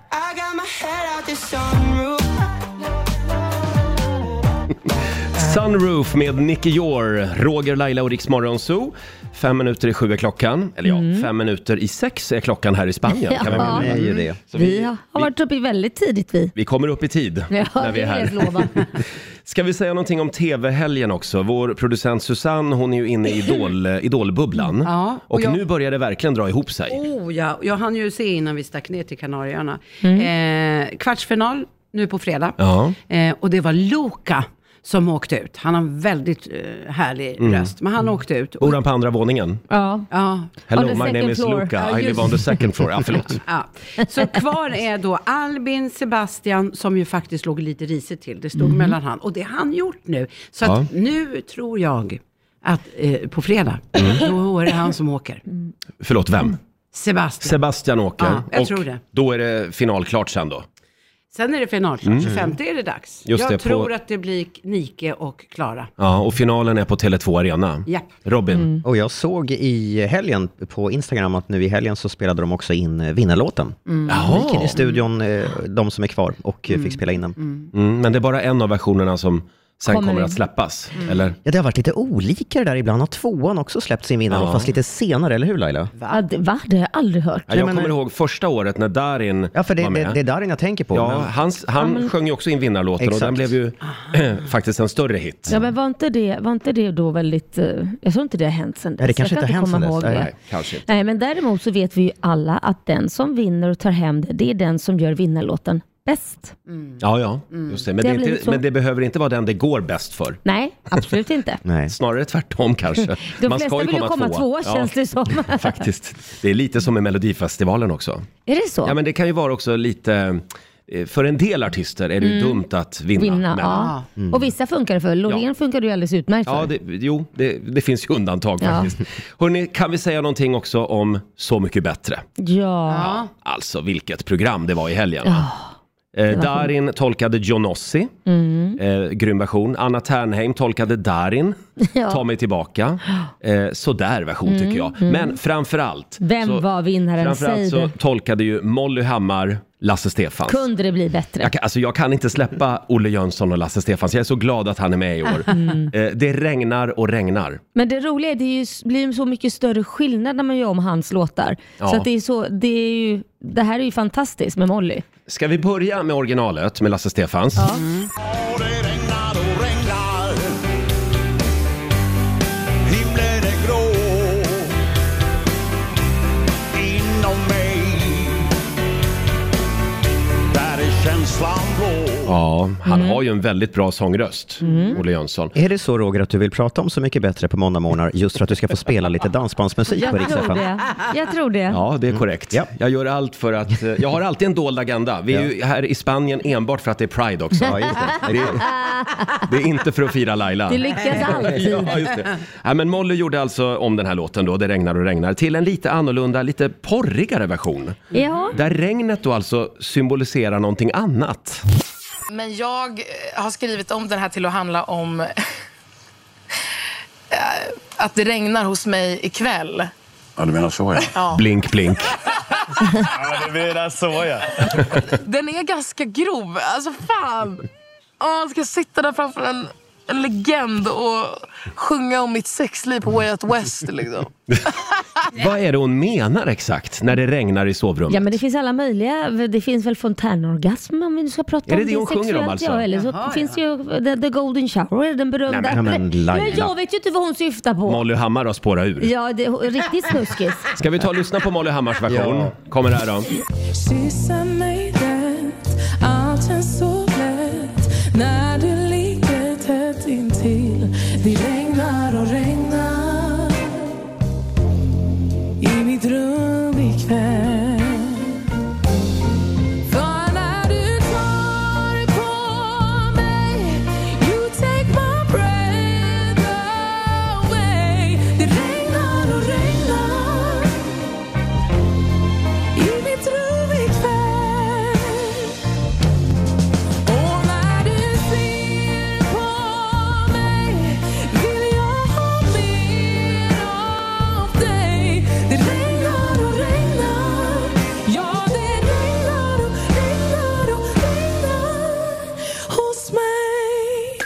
[SPEAKER 1] Sunroof med Nicky Jor, Roger, Laila och Rix Morgon Zoo. Fem minuter i sju är klockan. Eller ja, fem minuter i sex är klockan här i Spanien. Kan vi,
[SPEAKER 2] Mm. [laughs] Ja.
[SPEAKER 8] Det är ju det.
[SPEAKER 1] Så
[SPEAKER 2] Vi
[SPEAKER 1] vi,
[SPEAKER 2] har varit uppe väldigt tidigt vi.
[SPEAKER 1] vi kommer upp i tid
[SPEAKER 2] Ja,
[SPEAKER 1] när vi är
[SPEAKER 2] det
[SPEAKER 1] här. [laughs]
[SPEAKER 2] helt lovat.
[SPEAKER 1] Ska vi säga någonting om tv-helgen också? Vår producent Susanne, hon är ju inne i idol, idolbubblan.
[SPEAKER 6] Ja,
[SPEAKER 1] och
[SPEAKER 6] och jag-
[SPEAKER 1] nu börjar det verkligen dra ihop sig.
[SPEAKER 6] Oh ja, jag hann ju se innan vi stack ner till Kanarieöarna. Eh, kvartsfinal nu på fredag.
[SPEAKER 1] Ja.
[SPEAKER 6] Eh, och det var Luca som åkte ut. Han har en väldigt eh, härlig
[SPEAKER 1] Mm.
[SPEAKER 6] röst. Men han åkte ut.
[SPEAKER 1] Bor han på andra våningen?
[SPEAKER 6] Ja. ja.
[SPEAKER 1] Hello, my name is Luca. I live on the second floor. Ja, förlåt.
[SPEAKER 6] Ja. Så kvar är då Albin, Sebastian, som ju faktiskt låg lite risigt till. Det stod
[SPEAKER 1] Mm.
[SPEAKER 6] mellan han och det har han gjort nu. Så att
[SPEAKER 1] Ja.
[SPEAKER 6] nu tror jag att eh, på fredag,
[SPEAKER 1] Mm.
[SPEAKER 6] då är det han som åker.
[SPEAKER 1] Förlåt, vem?
[SPEAKER 6] Sebastian.
[SPEAKER 1] Sebastian åker.
[SPEAKER 6] Ja, jag
[SPEAKER 1] och
[SPEAKER 6] tror det.
[SPEAKER 1] Då är det finalklart sen då.
[SPEAKER 6] Sen är det final,
[SPEAKER 1] Mm.
[SPEAKER 6] 25 är det dags.
[SPEAKER 1] Just
[SPEAKER 6] jag
[SPEAKER 1] det, på-
[SPEAKER 6] tror att det blir Nike och Klara.
[SPEAKER 1] Ja, och finalen är på Tele2 Arena.
[SPEAKER 6] Japp.
[SPEAKER 1] Robin.
[SPEAKER 8] Och jag såg i helgen på Instagram att nu i helgen så spelade de också in eh, vinnarlåten.
[SPEAKER 6] Mm.
[SPEAKER 1] Jaha.
[SPEAKER 8] De gick in i studion, eh, de som är kvar, och eh, fick spela in den.
[SPEAKER 1] Mm, men det är bara en av versionerna som sen
[SPEAKER 8] Kommer
[SPEAKER 1] kommer,
[SPEAKER 8] in.
[SPEAKER 1] att släppas, eller?
[SPEAKER 8] Ja, det har varit lite olika det där. Ibland har tvåan också släppt sin vinnare,
[SPEAKER 1] Ja.
[SPEAKER 8] fast lite senare, eller hur Laila?
[SPEAKER 2] Va? Det, va? det har jag aldrig hört.
[SPEAKER 1] Ja, jag kommer ihåg första året när Darin
[SPEAKER 8] Ja, för det,
[SPEAKER 1] var med.
[SPEAKER 8] det, det är Darin jag tänker på.
[SPEAKER 1] ja,
[SPEAKER 8] men-
[SPEAKER 1] han, han
[SPEAKER 2] Ja, men-
[SPEAKER 1] sjöng ju också in vinnarlåten och den
[SPEAKER 8] Exakt.
[SPEAKER 1] blev ju [clears throat] faktiskt en större hit.
[SPEAKER 2] Ja men var inte det, var inte det då väldigt, eh, jag tror inte det har hänt sedan dess.
[SPEAKER 1] Nej, det kanske
[SPEAKER 2] jag
[SPEAKER 1] inte
[SPEAKER 2] kan
[SPEAKER 1] har hänt
[SPEAKER 2] komma
[SPEAKER 1] sedan
[SPEAKER 2] ihåg
[SPEAKER 1] dess.
[SPEAKER 2] det.
[SPEAKER 1] Nej, kanske inte.
[SPEAKER 2] Nej men däremot så vet vi ju alla att den som vinner och tar hem det, det är den som gör vinnarlåten bäst.
[SPEAKER 1] Ja, ja,
[SPEAKER 2] Mm.
[SPEAKER 1] just det.
[SPEAKER 2] Det
[SPEAKER 1] Men det, är
[SPEAKER 2] har blivit
[SPEAKER 1] inte,
[SPEAKER 2] så.
[SPEAKER 1] men det behöver inte vara den det går bäst för.
[SPEAKER 2] Nej, absolut inte.
[SPEAKER 1] Snarare tvärtom kanske.
[SPEAKER 2] [laughs] De flesta vill ju komma tvåa känns
[SPEAKER 1] [laughs]
[SPEAKER 2] det som.
[SPEAKER 1] Faktiskt. Det är lite som i Melodifestivalen också.
[SPEAKER 2] Är det så?
[SPEAKER 1] Ja, men det kan ju vara också lite... eh, För en del artister är det ju
[SPEAKER 2] Mm.
[SPEAKER 1] dumt att vinna. men-
[SPEAKER 2] ja.
[SPEAKER 1] Mm.
[SPEAKER 2] Och vissa funkar det för. Loreen funkar det ju alldeles utmärkt
[SPEAKER 1] Ja,
[SPEAKER 2] för.
[SPEAKER 1] det, jo, det, det finns ju undantag
[SPEAKER 2] Ja.
[SPEAKER 1] faktiskt. Hörrni, kan vi säga någonting också om Så mycket bättre?
[SPEAKER 2] Ja.
[SPEAKER 1] Alltså vilket program det var i helgen.
[SPEAKER 2] Ja, det
[SPEAKER 1] eh,
[SPEAKER 2] var
[SPEAKER 1] Darin tolkade Johnossi,
[SPEAKER 2] Mm.
[SPEAKER 1] eh, grym version. Anna Ternheim tolkade Darin,
[SPEAKER 2] [laughs] Ja.
[SPEAKER 1] Ta mig tillbaka. Eh, sådär version
[SPEAKER 2] Mm,
[SPEAKER 1] tycker jag.
[SPEAKER 2] mm.
[SPEAKER 1] Men framförallt,
[SPEAKER 2] Vem
[SPEAKER 1] så-
[SPEAKER 2] var vinnaren? Säg
[SPEAKER 1] framförallt så
[SPEAKER 2] det.
[SPEAKER 1] tolkade ju Molly Hammar Lasse Stefans.
[SPEAKER 2] Kunde det bli bättre?
[SPEAKER 1] Jag kan, alltså jag kan inte släppa Olle Jönsson och Lasse Stefans. Jag är så glad att han är med i år.
[SPEAKER 2] Mm.
[SPEAKER 1] Eh, det regnar och regnar.
[SPEAKER 2] Men det roliga är att det är ju, blir ju så mycket större skillnad när man gör om hans låtar.
[SPEAKER 1] Ja.
[SPEAKER 2] Så att det är så, det är ju, det här är ju fantastiskt med Molly.
[SPEAKER 1] Ska vi börja med originalet med Lasse Stefans?
[SPEAKER 3] Himlen är grå inom mig Där är känslan blå
[SPEAKER 1] Ja, han
[SPEAKER 2] Mm.
[SPEAKER 1] har ju en väldigt bra sångröst, Olle Jönsson.
[SPEAKER 8] Är det så Roger att du vill prata om Så mycket bättre på måndagmorgnar just för att du ska få spela lite dansbandsmusik på
[SPEAKER 2] Jag
[SPEAKER 8] Rix
[SPEAKER 2] tror
[SPEAKER 8] FM?
[SPEAKER 2] det. Jag tror det.
[SPEAKER 1] Ja, det är korrekt. Jag gör allt för att... eh, Jag har alltid en dold agenda. Vi är ju här i Spanien enbart för att det är Pride också.
[SPEAKER 2] Ja, just det.
[SPEAKER 1] Det, är, det är inte för att fira Laila.
[SPEAKER 2] Det lyckas alltid.
[SPEAKER 1] [laughs] ja, just det. Nej, men Molly gjorde alltså om den här låten då, Det regnar och regnar, till en lite annorlunda, lite porrigare version.
[SPEAKER 2] Ja.
[SPEAKER 1] Där regnet då alltså symboliserar någonting annat.
[SPEAKER 13] Men jag eh, har skrivit om den här till att handla om [laughs] eh, att det regnar hos mig ikväll.
[SPEAKER 3] Ja, du menar så
[SPEAKER 13] Ja.
[SPEAKER 1] Blink, blink.
[SPEAKER 3] Ja, du menar så ja.
[SPEAKER 13] Den är ganska grov. Alltså fan! Oh, ska jag sitta där framför en, en legend och sjunga om mitt sexliv på Way Out West liksom.
[SPEAKER 1] Vad är det hon menar exakt när det regnar i sovrummet?
[SPEAKER 2] Ja men det finns alla möjliga, det finns väl fontänorgasm om vi nu ska prata
[SPEAKER 1] Är det
[SPEAKER 2] om
[SPEAKER 1] det hon sjunger om
[SPEAKER 2] sexuellt,
[SPEAKER 1] alltså?
[SPEAKER 2] Ja, eller så
[SPEAKER 1] Jaha,
[SPEAKER 2] finns det ju eh, the, the Golden Shower, den berömda.
[SPEAKER 1] Nej, men- men Laila.
[SPEAKER 2] Men jag vet ju inte vad hon syftar på.
[SPEAKER 1] Molly Hammar har spårat ur.
[SPEAKER 2] Ja, det är riktigt snuskigt.
[SPEAKER 1] Ska vi ta och lyssna på Molly Hammars version? Kommer här då.
[SPEAKER 5] Kyssa mig rätt, allt känns så lätt när du ligger tätt intill. Det regnar och regnar i mitt rum ikväll. För när du tar på mig, you take my breath away. Det regnar och regnar i mitt rum ikväll. Och när du ser på mig vill jag ha mer av dig. Det regnar och regnar. Ja, det regnar och regnar och regnar hos mig.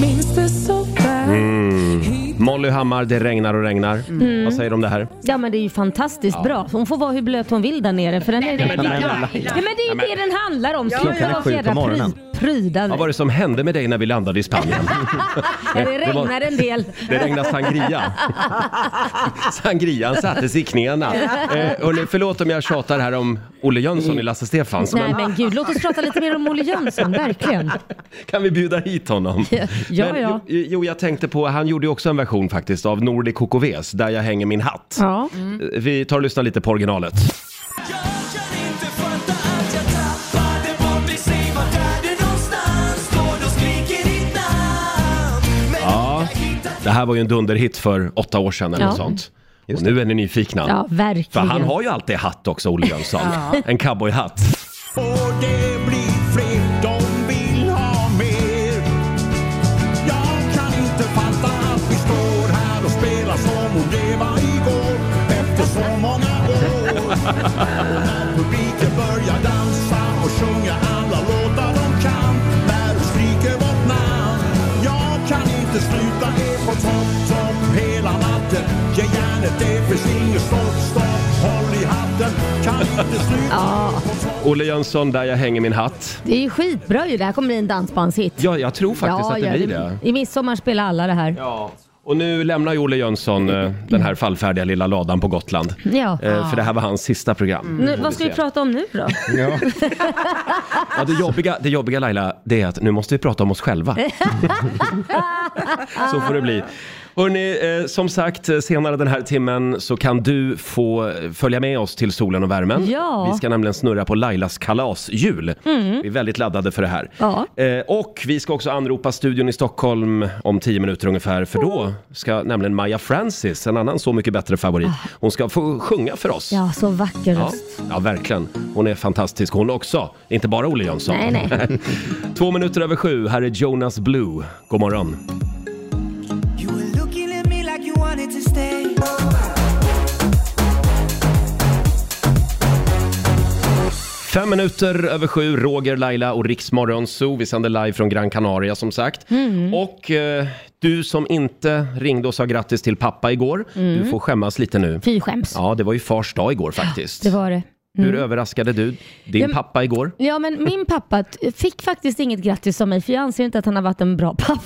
[SPEAKER 5] Minns det så väl.
[SPEAKER 1] Mm. Molly Hammar, Det regnar och regnar.
[SPEAKER 2] Mm.
[SPEAKER 1] Vad säger du om det här?
[SPEAKER 2] Ja men det är ju fantastiskt
[SPEAKER 1] Ja.
[SPEAKER 2] bra. Hon får vara hur blöt hon vill där nere för den är
[SPEAKER 1] Nej, men Laila.
[SPEAKER 2] Ja, men det är ju
[SPEAKER 1] Nej, men-
[SPEAKER 2] det den handlar om.
[SPEAKER 1] Klockan är
[SPEAKER 2] vara
[SPEAKER 1] sju
[SPEAKER 2] så
[SPEAKER 1] på
[SPEAKER 2] jädra
[SPEAKER 1] morgonen.
[SPEAKER 2] pry- pryda
[SPEAKER 1] Vad var det som hände med dig när vi landade i
[SPEAKER 2] [laughs]
[SPEAKER 1] Spanien?
[SPEAKER 2] Ja,
[SPEAKER 1] Det
[SPEAKER 2] det
[SPEAKER 1] var-
[SPEAKER 2] regnar en del.
[SPEAKER 1] Det regnade
[SPEAKER 2] [laughs]
[SPEAKER 1] sangria. Sangrian sattes i knäna. Eh, hörni, förlåt om jag tjatar här om Olle Jönsson i Lasse Stefans
[SPEAKER 2] Nej
[SPEAKER 1] men
[SPEAKER 2] men gud, låt oss prata lite mer om Olle Jönsson, verkligen.
[SPEAKER 1] kan vi bjuda hit honom?
[SPEAKER 2] Ja, ja,
[SPEAKER 1] Men,
[SPEAKER 2] ja.
[SPEAKER 1] Jo, jo, jag tänkte på, han gjorde ju också en version faktiskt av Nordic KKVs, Där jag hänger min hatt.
[SPEAKER 2] Ja.
[SPEAKER 1] Eh, Vi tar och lyssnar lite på originalet. Ja, det här var ju en dunderhit för åtta år sedan eller
[SPEAKER 2] Ja. Mm.
[SPEAKER 1] något sånt. Och nu är ni nyfikna.
[SPEAKER 2] Ja, verkligen.
[SPEAKER 1] För han har ju alltid hatt också, Olle Jönsson.
[SPEAKER 2] Ja.
[SPEAKER 1] En cowboyhatt.
[SPEAKER 3] Och det blir fler, de vill ha mer. Jag kan inte fatta att vi står här och spelar som om det var igår. Efter så många år. Och när publiken börjar dansa och sjunga alla låtar de kan. När de skriker vårt namn. Jag kan inte sluta er på topp, topp hela natten. Ge järnet, det finns inget stopp, stopp. Håll i hatten, kan inte sluta.
[SPEAKER 1] Olle Jönsson, Där jag hänger min hatt.
[SPEAKER 2] Det är ju skitbra ju, det här kommer bli en dansbandshit.
[SPEAKER 1] Ja, jag tror faktiskt att det
[SPEAKER 2] ja,
[SPEAKER 1] blir det.
[SPEAKER 2] I midsommar spelar alla det här.
[SPEAKER 1] Ja. Och nu lämnar ju Olle Jönsson eh, den här fallfärdiga lilla ladan på Gotland.
[SPEAKER 2] Mm. Ja. Mm.
[SPEAKER 1] Eh, För det här var hans sista program.
[SPEAKER 2] Nu, vad ska vi prata om nu då?
[SPEAKER 1] Ja. Ja, det, jobbiga, det jobbiga Laila, det är att nu måste vi prata om oss
[SPEAKER 2] [laughs]
[SPEAKER 1] själva. Så får det bli. Hörrni, eh, som sagt, eh, senare den här timmen så kan du få eh, följa med oss till solen och värmen.
[SPEAKER 2] Ja.
[SPEAKER 1] Vi ska nämligen snurra på Lailas kalasjul.
[SPEAKER 2] Mm.
[SPEAKER 1] Vi är väldigt laddade för det här.
[SPEAKER 2] Ja.
[SPEAKER 1] Eh, och vi ska också anropa studion i Stockholm om tio minuter ungefär, för
[SPEAKER 2] Mm.
[SPEAKER 1] då ska nämligen Maja Francis, en annan Så mycket bättre favorit, hon ska få sjunga för oss.
[SPEAKER 2] Ah. Ja, så vacker
[SPEAKER 1] Ja,
[SPEAKER 2] röst.
[SPEAKER 1] ja, verkligen. Hon är fantastisk hon också. Inte bara Olle Jönsson.
[SPEAKER 2] Nej, nej.
[SPEAKER 1] [laughs] Två minuter över sju, här är Jonas Blue. God morgon.
[SPEAKER 5] Looking at me like you wanted to stay.
[SPEAKER 1] Fem minuter över sju, Roger, Laila och Riksmorgon Zoo. Vi sänder live från Gran Canaria som sagt.
[SPEAKER 2] Mm.
[SPEAKER 1] Och eh, du som inte ringde och sa grattis till pappa igår,
[SPEAKER 2] Mm.
[SPEAKER 1] du får skämmas lite nu.
[SPEAKER 2] Fy skäms.
[SPEAKER 1] Ja, det var ju fars dag igår faktiskt.
[SPEAKER 2] Det var det.
[SPEAKER 1] Hur överraskade du din
[SPEAKER 2] Ja, men-
[SPEAKER 1] pappa igår?
[SPEAKER 2] Ja, men min pappa t- fick faktiskt inget grattis av mig för jag anser inte att han har varit en bra pappa.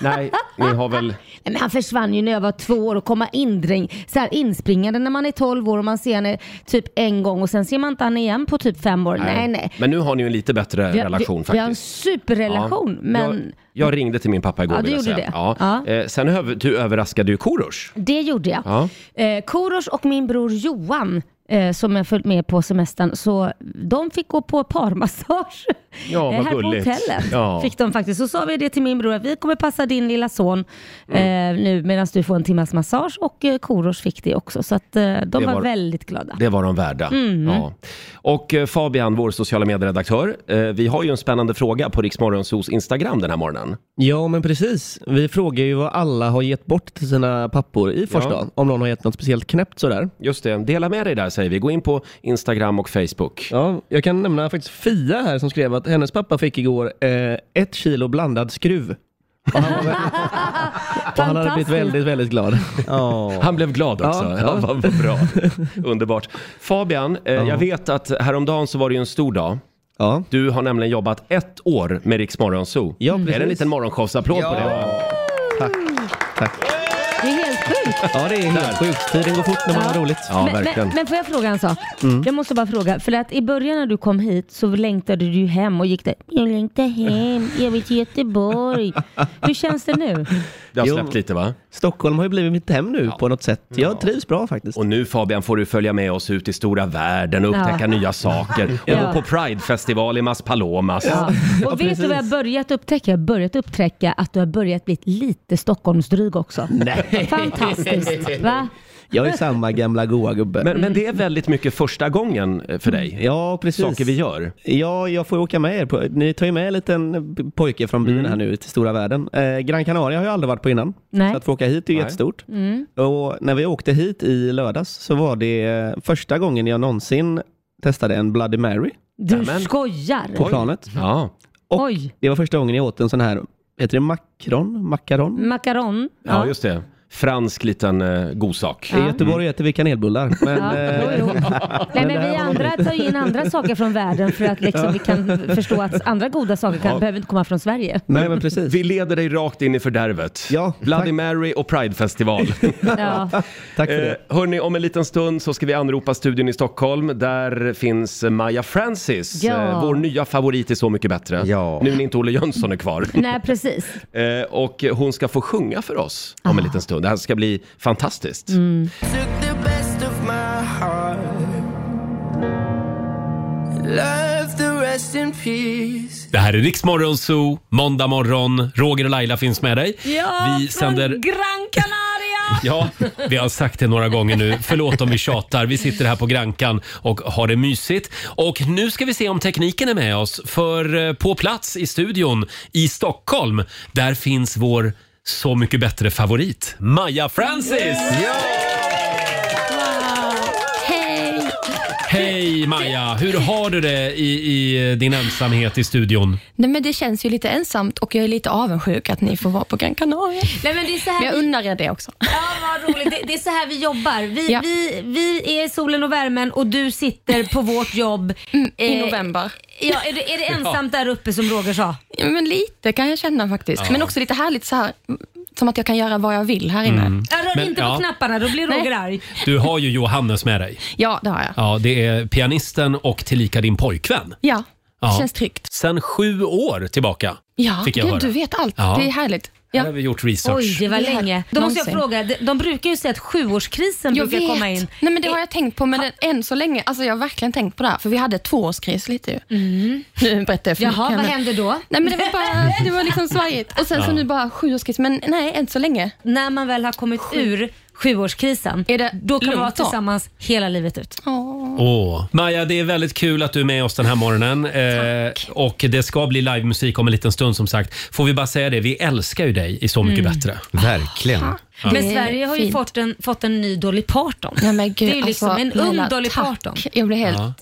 [SPEAKER 1] Nej, ni har väl...
[SPEAKER 2] Nej, men han försvann ju när jag var två år och komma indräng, så här inspringande när man är 12 år och man ser henne typ en gång och sen ser man inte han igen på typ fem år. [laughs] Nej, nej.
[SPEAKER 1] Men nu har ni ju en lite bättre
[SPEAKER 2] Vi har-
[SPEAKER 1] relation
[SPEAKER 2] vi,
[SPEAKER 1] faktiskt.
[SPEAKER 2] Vi har en superrelation,
[SPEAKER 1] Ja.
[SPEAKER 2] men
[SPEAKER 1] Jag, jag ringde till min pappa igår
[SPEAKER 2] Ja, du
[SPEAKER 1] vill jag
[SPEAKER 2] gjorde
[SPEAKER 1] säga.
[SPEAKER 2] det.
[SPEAKER 1] Ja. Eh, sen över, du överraskade ju Korosh.
[SPEAKER 2] det gjorde jag.
[SPEAKER 1] Ja.
[SPEAKER 2] Eh, Korosh och min bror Johan eh, som jag följt med på semestern, så de fick gå på parmassage
[SPEAKER 1] Ja,
[SPEAKER 2] [laughs]
[SPEAKER 1] vad
[SPEAKER 2] Eh, här
[SPEAKER 1] gulligt.
[SPEAKER 2] på hotellet.
[SPEAKER 1] Ja.
[SPEAKER 2] Fick de faktiskt. Så sa vi det till min bror, att vi kommer passa din lilla son
[SPEAKER 1] Mm.
[SPEAKER 2] eh, nu medan du får en timmas massage och eh, Korosh fick det också. Så att, eh, de
[SPEAKER 1] Det
[SPEAKER 2] var,
[SPEAKER 1] var-
[SPEAKER 2] väldigt glada.
[SPEAKER 1] Det var de värda.
[SPEAKER 2] Mm.
[SPEAKER 1] Ja. Och eh, Fabian, vår sociala medieredaktör. Eh, vi har ju en spännande fråga på Riksmorgonsos Instagram den här morgonen.
[SPEAKER 14] Ja, men precis. Vi frågar ju vad alla har gett bort till sina pappor i första
[SPEAKER 1] Ja.
[SPEAKER 14] Om någon har gett något speciellt knäppt sådär.
[SPEAKER 1] Just det, dela med dig där säger vi. Gå in på Instagram och Facebook.
[SPEAKER 14] Ja, jag kan nämna faktiskt Fia här som skrev att hennes pappa fick igår eh, ett kilo blandad skruv. Och han hade blivit väldigt, väldigt
[SPEAKER 2] [laughs]
[SPEAKER 14] glad.
[SPEAKER 1] Han blev glad också.
[SPEAKER 14] Ja,
[SPEAKER 1] [laughs] Ja,
[SPEAKER 14] ja.
[SPEAKER 1] Vad, vad
[SPEAKER 14] [laughs]
[SPEAKER 1] bra. Underbart. Fabian, eh, jag vet att häromdagen så var det ju en stor dag. Du har nämligen jobbat ett år med Rix Morgonzoo. Ja, är det en
[SPEAKER 14] precis.
[SPEAKER 1] liten morgonshowsapplåd på det?
[SPEAKER 14] Tack. Tack.
[SPEAKER 2] Det är helt sjukt.
[SPEAKER 14] Ja, det är helt sjukt. Tiden går fort när man har roligt.
[SPEAKER 2] men, men, men får jag fråga en sak?
[SPEAKER 14] Mm.
[SPEAKER 2] Jag måste bara fråga, för att i början när du kom hit så längtade du ju hem och gick där. Jag längtar hem, jag vill till Göteborg. Hur känns det nu?
[SPEAKER 1] Det har
[SPEAKER 14] Jo.
[SPEAKER 1] släppt lite va?
[SPEAKER 14] Stockholm har ju blivit mitt hem nu på något sätt. Jag trivs bra faktiskt.
[SPEAKER 1] Och nu Fabian får du följa med oss ut i stora världen och upptäcka
[SPEAKER 2] Ja.
[SPEAKER 1] nya
[SPEAKER 2] [laughs]
[SPEAKER 1] saker. Och
[SPEAKER 2] Ja.
[SPEAKER 1] gå på Pridefestival i Mas Palomas.
[SPEAKER 2] Ja. Och vet du vad jag har börjat upptäcka? Jag har börjat upptäcka att du har börjat bli lite Stockholmsdryg också.
[SPEAKER 14] Nej. [laughs]
[SPEAKER 2] Fantastiskt, va?
[SPEAKER 14] Jag är samma gamla goa gubbe.
[SPEAKER 1] Men, men det är väldigt mycket första gången eh, för dig.
[SPEAKER 14] Ja, precis.
[SPEAKER 1] Saker vi gör.
[SPEAKER 14] Ja, jag får ju åka med er. På, ni tar ju med en liten pojke från
[SPEAKER 1] Mm.
[SPEAKER 14] byn här nu till stora världen. Eh, Gran Canaria har jag aldrig varit på innan.
[SPEAKER 2] Nej.
[SPEAKER 14] Så att få åka hit är ju
[SPEAKER 2] Nej.
[SPEAKER 14] jättestort.
[SPEAKER 2] Mm.
[SPEAKER 14] Och när vi åkte hit i lördags så var det första gången jag någonsin testade en Bloody Mary
[SPEAKER 2] Du skojar!
[SPEAKER 14] på planet.
[SPEAKER 1] Ja.
[SPEAKER 14] Och
[SPEAKER 2] Oj.
[SPEAKER 14] det var första gången jag åt en sån här, heter det makron? Makaron?
[SPEAKER 2] Macaron.
[SPEAKER 1] Ja, just det.
[SPEAKER 15] fransk liten eh, godsak.
[SPEAKER 16] I Göteborg äter vi kanelbullar. Men,
[SPEAKER 14] eh,
[SPEAKER 17] Ja, jo, jo. Nej, men vi andra tar ju in andra saker från världen för att liksom vi kan förstå att andra goda saker kan,
[SPEAKER 15] Ja.
[SPEAKER 17] behöver inte komma från Sverige.
[SPEAKER 15] Nej, men precis. Vi leder dig rakt in i fördärvet. Ja, Bloody Mary och [laughs] Pridefestival.
[SPEAKER 17] Ja.
[SPEAKER 15] Tack för
[SPEAKER 2] Eh,
[SPEAKER 15] det. Hörni, om en liten stund så ska vi anropa studion i Stockholm. Där finns Maja Francis,
[SPEAKER 17] Ja.
[SPEAKER 15] eh, vår nya favorit i Så mycket bättre. Nu när inte Olle Jönsson är kvar.
[SPEAKER 17] Nej, precis.
[SPEAKER 15] Eh, Och hon ska få sjunga för oss om en liten stund. Det här ska bli fantastiskt.
[SPEAKER 5] Took the best of my heart. Love the rest in peace.
[SPEAKER 1] Det här är Riksmorgon Zoo, måndag morgon. Roger och Laila finns med dig.
[SPEAKER 5] Ja,
[SPEAKER 1] vi sänder...
[SPEAKER 2] Gran Canaria!
[SPEAKER 1] Ja, vi har sagt det några gånger nu. Förlåt om vi tjatar. Vi sitter här på Grankan och har det mysigt. Och nu ska vi se om tekniken är med oss. För eh, på plats i studion i Stockholm, där finns vår Så mycket bättre favorit, Maja Francis!
[SPEAKER 5] Hej!
[SPEAKER 1] Hej Maja! Hur har du det i, i eh, din ensamhet i studion?
[SPEAKER 18] Nej, men det känns ju lite ensamt och jag är lite avundsjuk att ni får vara på Gran Canaria.
[SPEAKER 2] Nej, men det är så här
[SPEAKER 18] Men jag
[SPEAKER 2] vi-
[SPEAKER 18] unnar er det också.
[SPEAKER 2] Ja, vad roligt. Det, det är så här vi jobbar. Vi,
[SPEAKER 18] Ja.
[SPEAKER 2] vi, vi är i solen och värmen och du sitter på vårt jobb.
[SPEAKER 17] Mm,
[SPEAKER 2] eh,
[SPEAKER 18] i november.
[SPEAKER 2] Ja, är, det, är det ensamt där uppe som Roger sa?
[SPEAKER 18] Ja, Men lite kan jag känna faktiskt.
[SPEAKER 2] Ja.
[SPEAKER 18] Men också lite härligt så här, som att jag kan göra vad jag vill här inne.
[SPEAKER 1] Mm. Ja, rör Men- inte på ja.
[SPEAKER 2] knapparna, då blir
[SPEAKER 18] Roger
[SPEAKER 2] arg.
[SPEAKER 1] Du har ju Johannes med dig.
[SPEAKER 18] Ja, det har jag.
[SPEAKER 1] Ja, det är pianisten och tillika din pojkvän.
[SPEAKER 18] Ja, det
[SPEAKER 1] Ja.
[SPEAKER 18] känns tryggt.
[SPEAKER 1] Sen sju år tillbaka
[SPEAKER 18] Ja,
[SPEAKER 1] fick jag
[SPEAKER 18] gud,
[SPEAKER 1] höra.
[SPEAKER 18] du vet allt.
[SPEAKER 1] Ja.
[SPEAKER 18] Det är härligt.
[SPEAKER 1] Här har vi gjort research.
[SPEAKER 2] Oj, det var
[SPEAKER 18] Det här-
[SPEAKER 2] länge. Då måste jag
[SPEAKER 18] någonsin.
[SPEAKER 2] fråga, de, de brukar ju säga att sjuårskrisen
[SPEAKER 18] Jag
[SPEAKER 2] brukar
[SPEAKER 18] vet.
[SPEAKER 2] komma in.
[SPEAKER 18] Nej, men det har jag tänkt på, men det- än så länge, alltså jag har verkligen tänkt på det här, för vi hade tvåårskris lite ju. Nu berättar jag för
[SPEAKER 2] Jaha,
[SPEAKER 18] mycket,
[SPEAKER 2] vad
[SPEAKER 18] men-
[SPEAKER 2] hände då?
[SPEAKER 18] Nej, men det
[SPEAKER 1] [laughs]
[SPEAKER 18] var bara, det var liksom svajigt. Och sen så
[SPEAKER 2] Ja.
[SPEAKER 18] nu bara sjuårskris, men nej, än så länge.
[SPEAKER 2] När man väl har kommit ur sjuårskrisen, då kan man vara
[SPEAKER 18] lugnt då?
[SPEAKER 2] tillsammans hela livet ut.
[SPEAKER 1] Åh. Maja, det är väldigt kul att du är med oss den här morgonen. Eh, och det ska bli livemusik om en liten stund som sagt. Får vi bara säga det, vi älskar ju dig i Så mycket
[SPEAKER 2] Mm.
[SPEAKER 1] bättre. Verkligen. Ja.
[SPEAKER 2] Men Sverige har ju
[SPEAKER 18] fint.
[SPEAKER 2] fått en, fått en ny Dolly Parton.
[SPEAKER 18] Ja, men gud,
[SPEAKER 2] det är ju liksom
[SPEAKER 18] alltså,
[SPEAKER 2] en ung
[SPEAKER 18] Laila,
[SPEAKER 2] Dolly
[SPEAKER 18] tack.
[SPEAKER 2] Parton.
[SPEAKER 18] Jag blir helt...
[SPEAKER 1] Ja.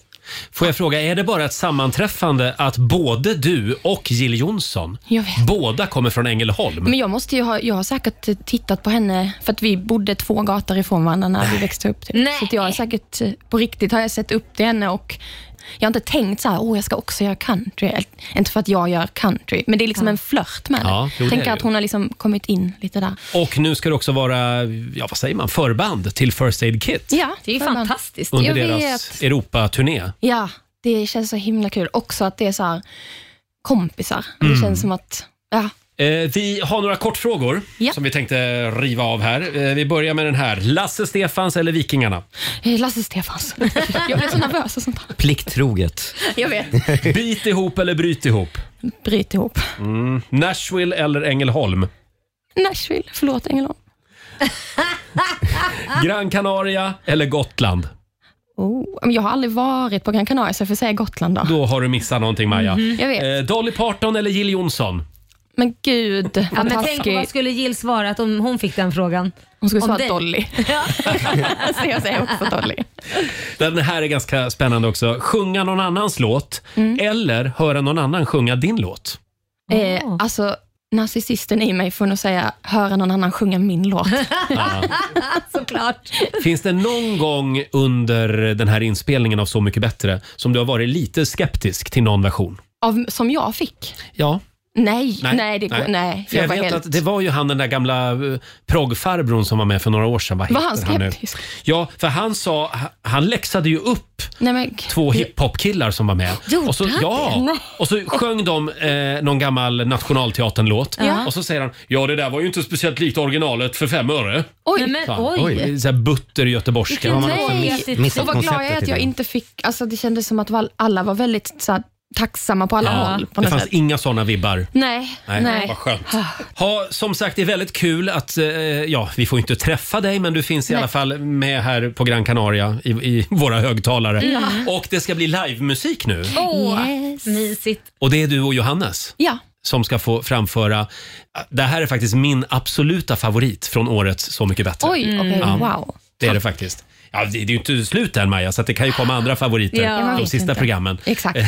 [SPEAKER 1] Får jag fråga, är det bara ett sammanträffande att både du och Jill Johnson,
[SPEAKER 18] Jag vet.
[SPEAKER 1] båda kommer från Ängelholm?
[SPEAKER 18] Men jag måste ju ha, jag har säkert eh, tittat på henne, för att vi bodde två gator ifrån varandra när vi växte upp. Typ. Så att jag har säkert, eh, på riktigt har jag sett upp till henne och jag har inte tänkt så här, åh jag ska också göra country. Eller, Inte för att jag gör country, men det är liksom en flört med henne.
[SPEAKER 1] Ja, jo, det är
[SPEAKER 18] Tänker
[SPEAKER 1] det
[SPEAKER 18] att
[SPEAKER 1] ju.
[SPEAKER 18] hon har liksom kommit in lite där.
[SPEAKER 1] Och nu ska det också vara, ja vad säger man, förband till First Aid Kit
[SPEAKER 18] Ja,
[SPEAKER 2] det är ju fantastiskt.
[SPEAKER 1] under
[SPEAKER 18] Jag
[SPEAKER 1] deras
[SPEAKER 18] vet.
[SPEAKER 1] Europaturné.
[SPEAKER 18] Ja, det känns så himla kul. Också att det är så här kompisar.
[SPEAKER 1] Mm.
[SPEAKER 18] Det känns som att, ja,
[SPEAKER 1] Eh, vi har några kortfrågor
[SPEAKER 18] Ja.
[SPEAKER 1] som vi tänkte riva av här. Eh, vi börjar med den här. Lasse Stefans eller Vikingarna?
[SPEAKER 18] eh,
[SPEAKER 1] [laughs]
[SPEAKER 18] Lasse Stefans. Jag blir så nervös och sånt där.
[SPEAKER 1] Plikttroget.
[SPEAKER 18] [laughs] Jag vet.
[SPEAKER 1] Bit ihop eller bryt ihop?
[SPEAKER 18] Bryt ihop.
[SPEAKER 1] Mm. Nashville eller Ängelholm?
[SPEAKER 18] Nashville, förlåt Ängelholm.
[SPEAKER 1] [laughs] Gran Canaria eller Gotland?
[SPEAKER 18] Oh, men jag har aldrig varit på Gran Canaria, så jag får säga Gotland då.
[SPEAKER 1] Då har du missat någonting Maja.
[SPEAKER 18] Mhm. Jag vet.
[SPEAKER 1] Eh, Dolly Parton eller Jill Johnson?
[SPEAKER 18] Men gud,
[SPEAKER 2] Ja,
[SPEAKER 18] vad
[SPEAKER 2] men tänk
[SPEAKER 18] taskig.
[SPEAKER 2] vad skulle Jill svara om hon fick den frågan?
[SPEAKER 18] Hon skulle
[SPEAKER 2] Om
[SPEAKER 18] svara
[SPEAKER 2] dig.
[SPEAKER 18] Dolly. så jag säger också Dolly.
[SPEAKER 1] [laughs] Den här är ganska spännande också. Sjunga någon annans låt
[SPEAKER 18] Mm.
[SPEAKER 1] eller höra någon annan sjunga din låt.
[SPEAKER 18] Eh, alltså, narcissisten i mig får nog säga, höra någon annan sjunga min låt.
[SPEAKER 1] Ja.
[SPEAKER 18] alltså-
[SPEAKER 2] [laughs] Såklart.
[SPEAKER 1] Finns det någon gång under den här inspelningen av Så mycket bättre som du har varit lite skeptisk till någon version?
[SPEAKER 18] Av, som jag fick?
[SPEAKER 1] Ja.
[SPEAKER 18] Nej, nej, det, nej. nej
[SPEAKER 1] För
[SPEAKER 18] jag,
[SPEAKER 1] jag
[SPEAKER 18] var
[SPEAKER 1] vet
[SPEAKER 18] helt...
[SPEAKER 1] att det var ju han den där gamla eh, proggfarbrorn som var med för några år sedan. Vad
[SPEAKER 18] Var
[SPEAKER 1] heter
[SPEAKER 18] han
[SPEAKER 1] nu?
[SPEAKER 18] skeptisk?
[SPEAKER 1] Ja, för han sa, ha- han läxade ju upp
[SPEAKER 18] Nej, men,
[SPEAKER 1] två hiphopkillar som var med.
[SPEAKER 18] Gjorde
[SPEAKER 1] och så,
[SPEAKER 18] han det?
[SPEAKER 1] ja,
[SPEAKER 18] Nej.
[SPEAKER 1] och så sjöng de eh, någon gammal Nationalteatern-låt
[SPEAKER 18] Ja.
[SPEAKER 1] och så säger han “Ja, det där var ju inte speciellt likt originalet för fem öre”.
[SPEAKER 18] Oj.
[SPEAKER 1] Sa
[SPEAKER 18] Nej, men
[SPEAKER 1] han.
[SPEAKER 18] oj.
[SPEAKER 11] eh,
[SPEAKER 1] Det är Så här butter göteborgska.
[SPEAKER 18] Nej, och vad glad jag är att jag inte fick, alltså det kändes som att val- alla var väldigt så här, tacksamma på alla håll. På
[SPEAKER 1] det
[SPEAKER 18] något
[SPEAKER 1] fanns
[SPEAKER 18] sätt.
[SPEAKER 1] inga såna vibbar.
[SPEAKER 18] Nej,
[SPEAKER 1] Nej,
[SPEAKER 18] nej.
[SPEAKER 1] vad skönt. Ha, som sagt, det är väldigt kul att, eh, ja, vi får inte träffa dig, men du finns i
[SPEAKER 18] Nej.
[SPEAKER 1] alla fall med här på Gran Canaria i, i våra högtalare.
[SPEAKER 18] Ja.
[SPEAKER 1] Och det ska bli livemusik nu.
[SPEAKER 2] Åh, mysigt.
[SPEAKER 1] Och det är du och Johannes
[SPEAKER 18] Ja.
[SPEAKER 1] som ska få framföra. Det här är faktiskt min absoluta favorit från årets Så mycket bättre.
[SPEAKER 18] Oj, okej, wow.
[SPEAKER 1] Det är det faktiskt. Ja, det, det är ju inte slut än Maja, så att det kan ju komma andra favoriter
[SPEAKER 18] Ja, man
[SPEAKER 1] de
[SPEAKER 18] vet
[SPEAKER 1] sista
[SPEAKER 18] inte.
[SPEAKER 1] programmen.
[SPEAKER 18] Exakt,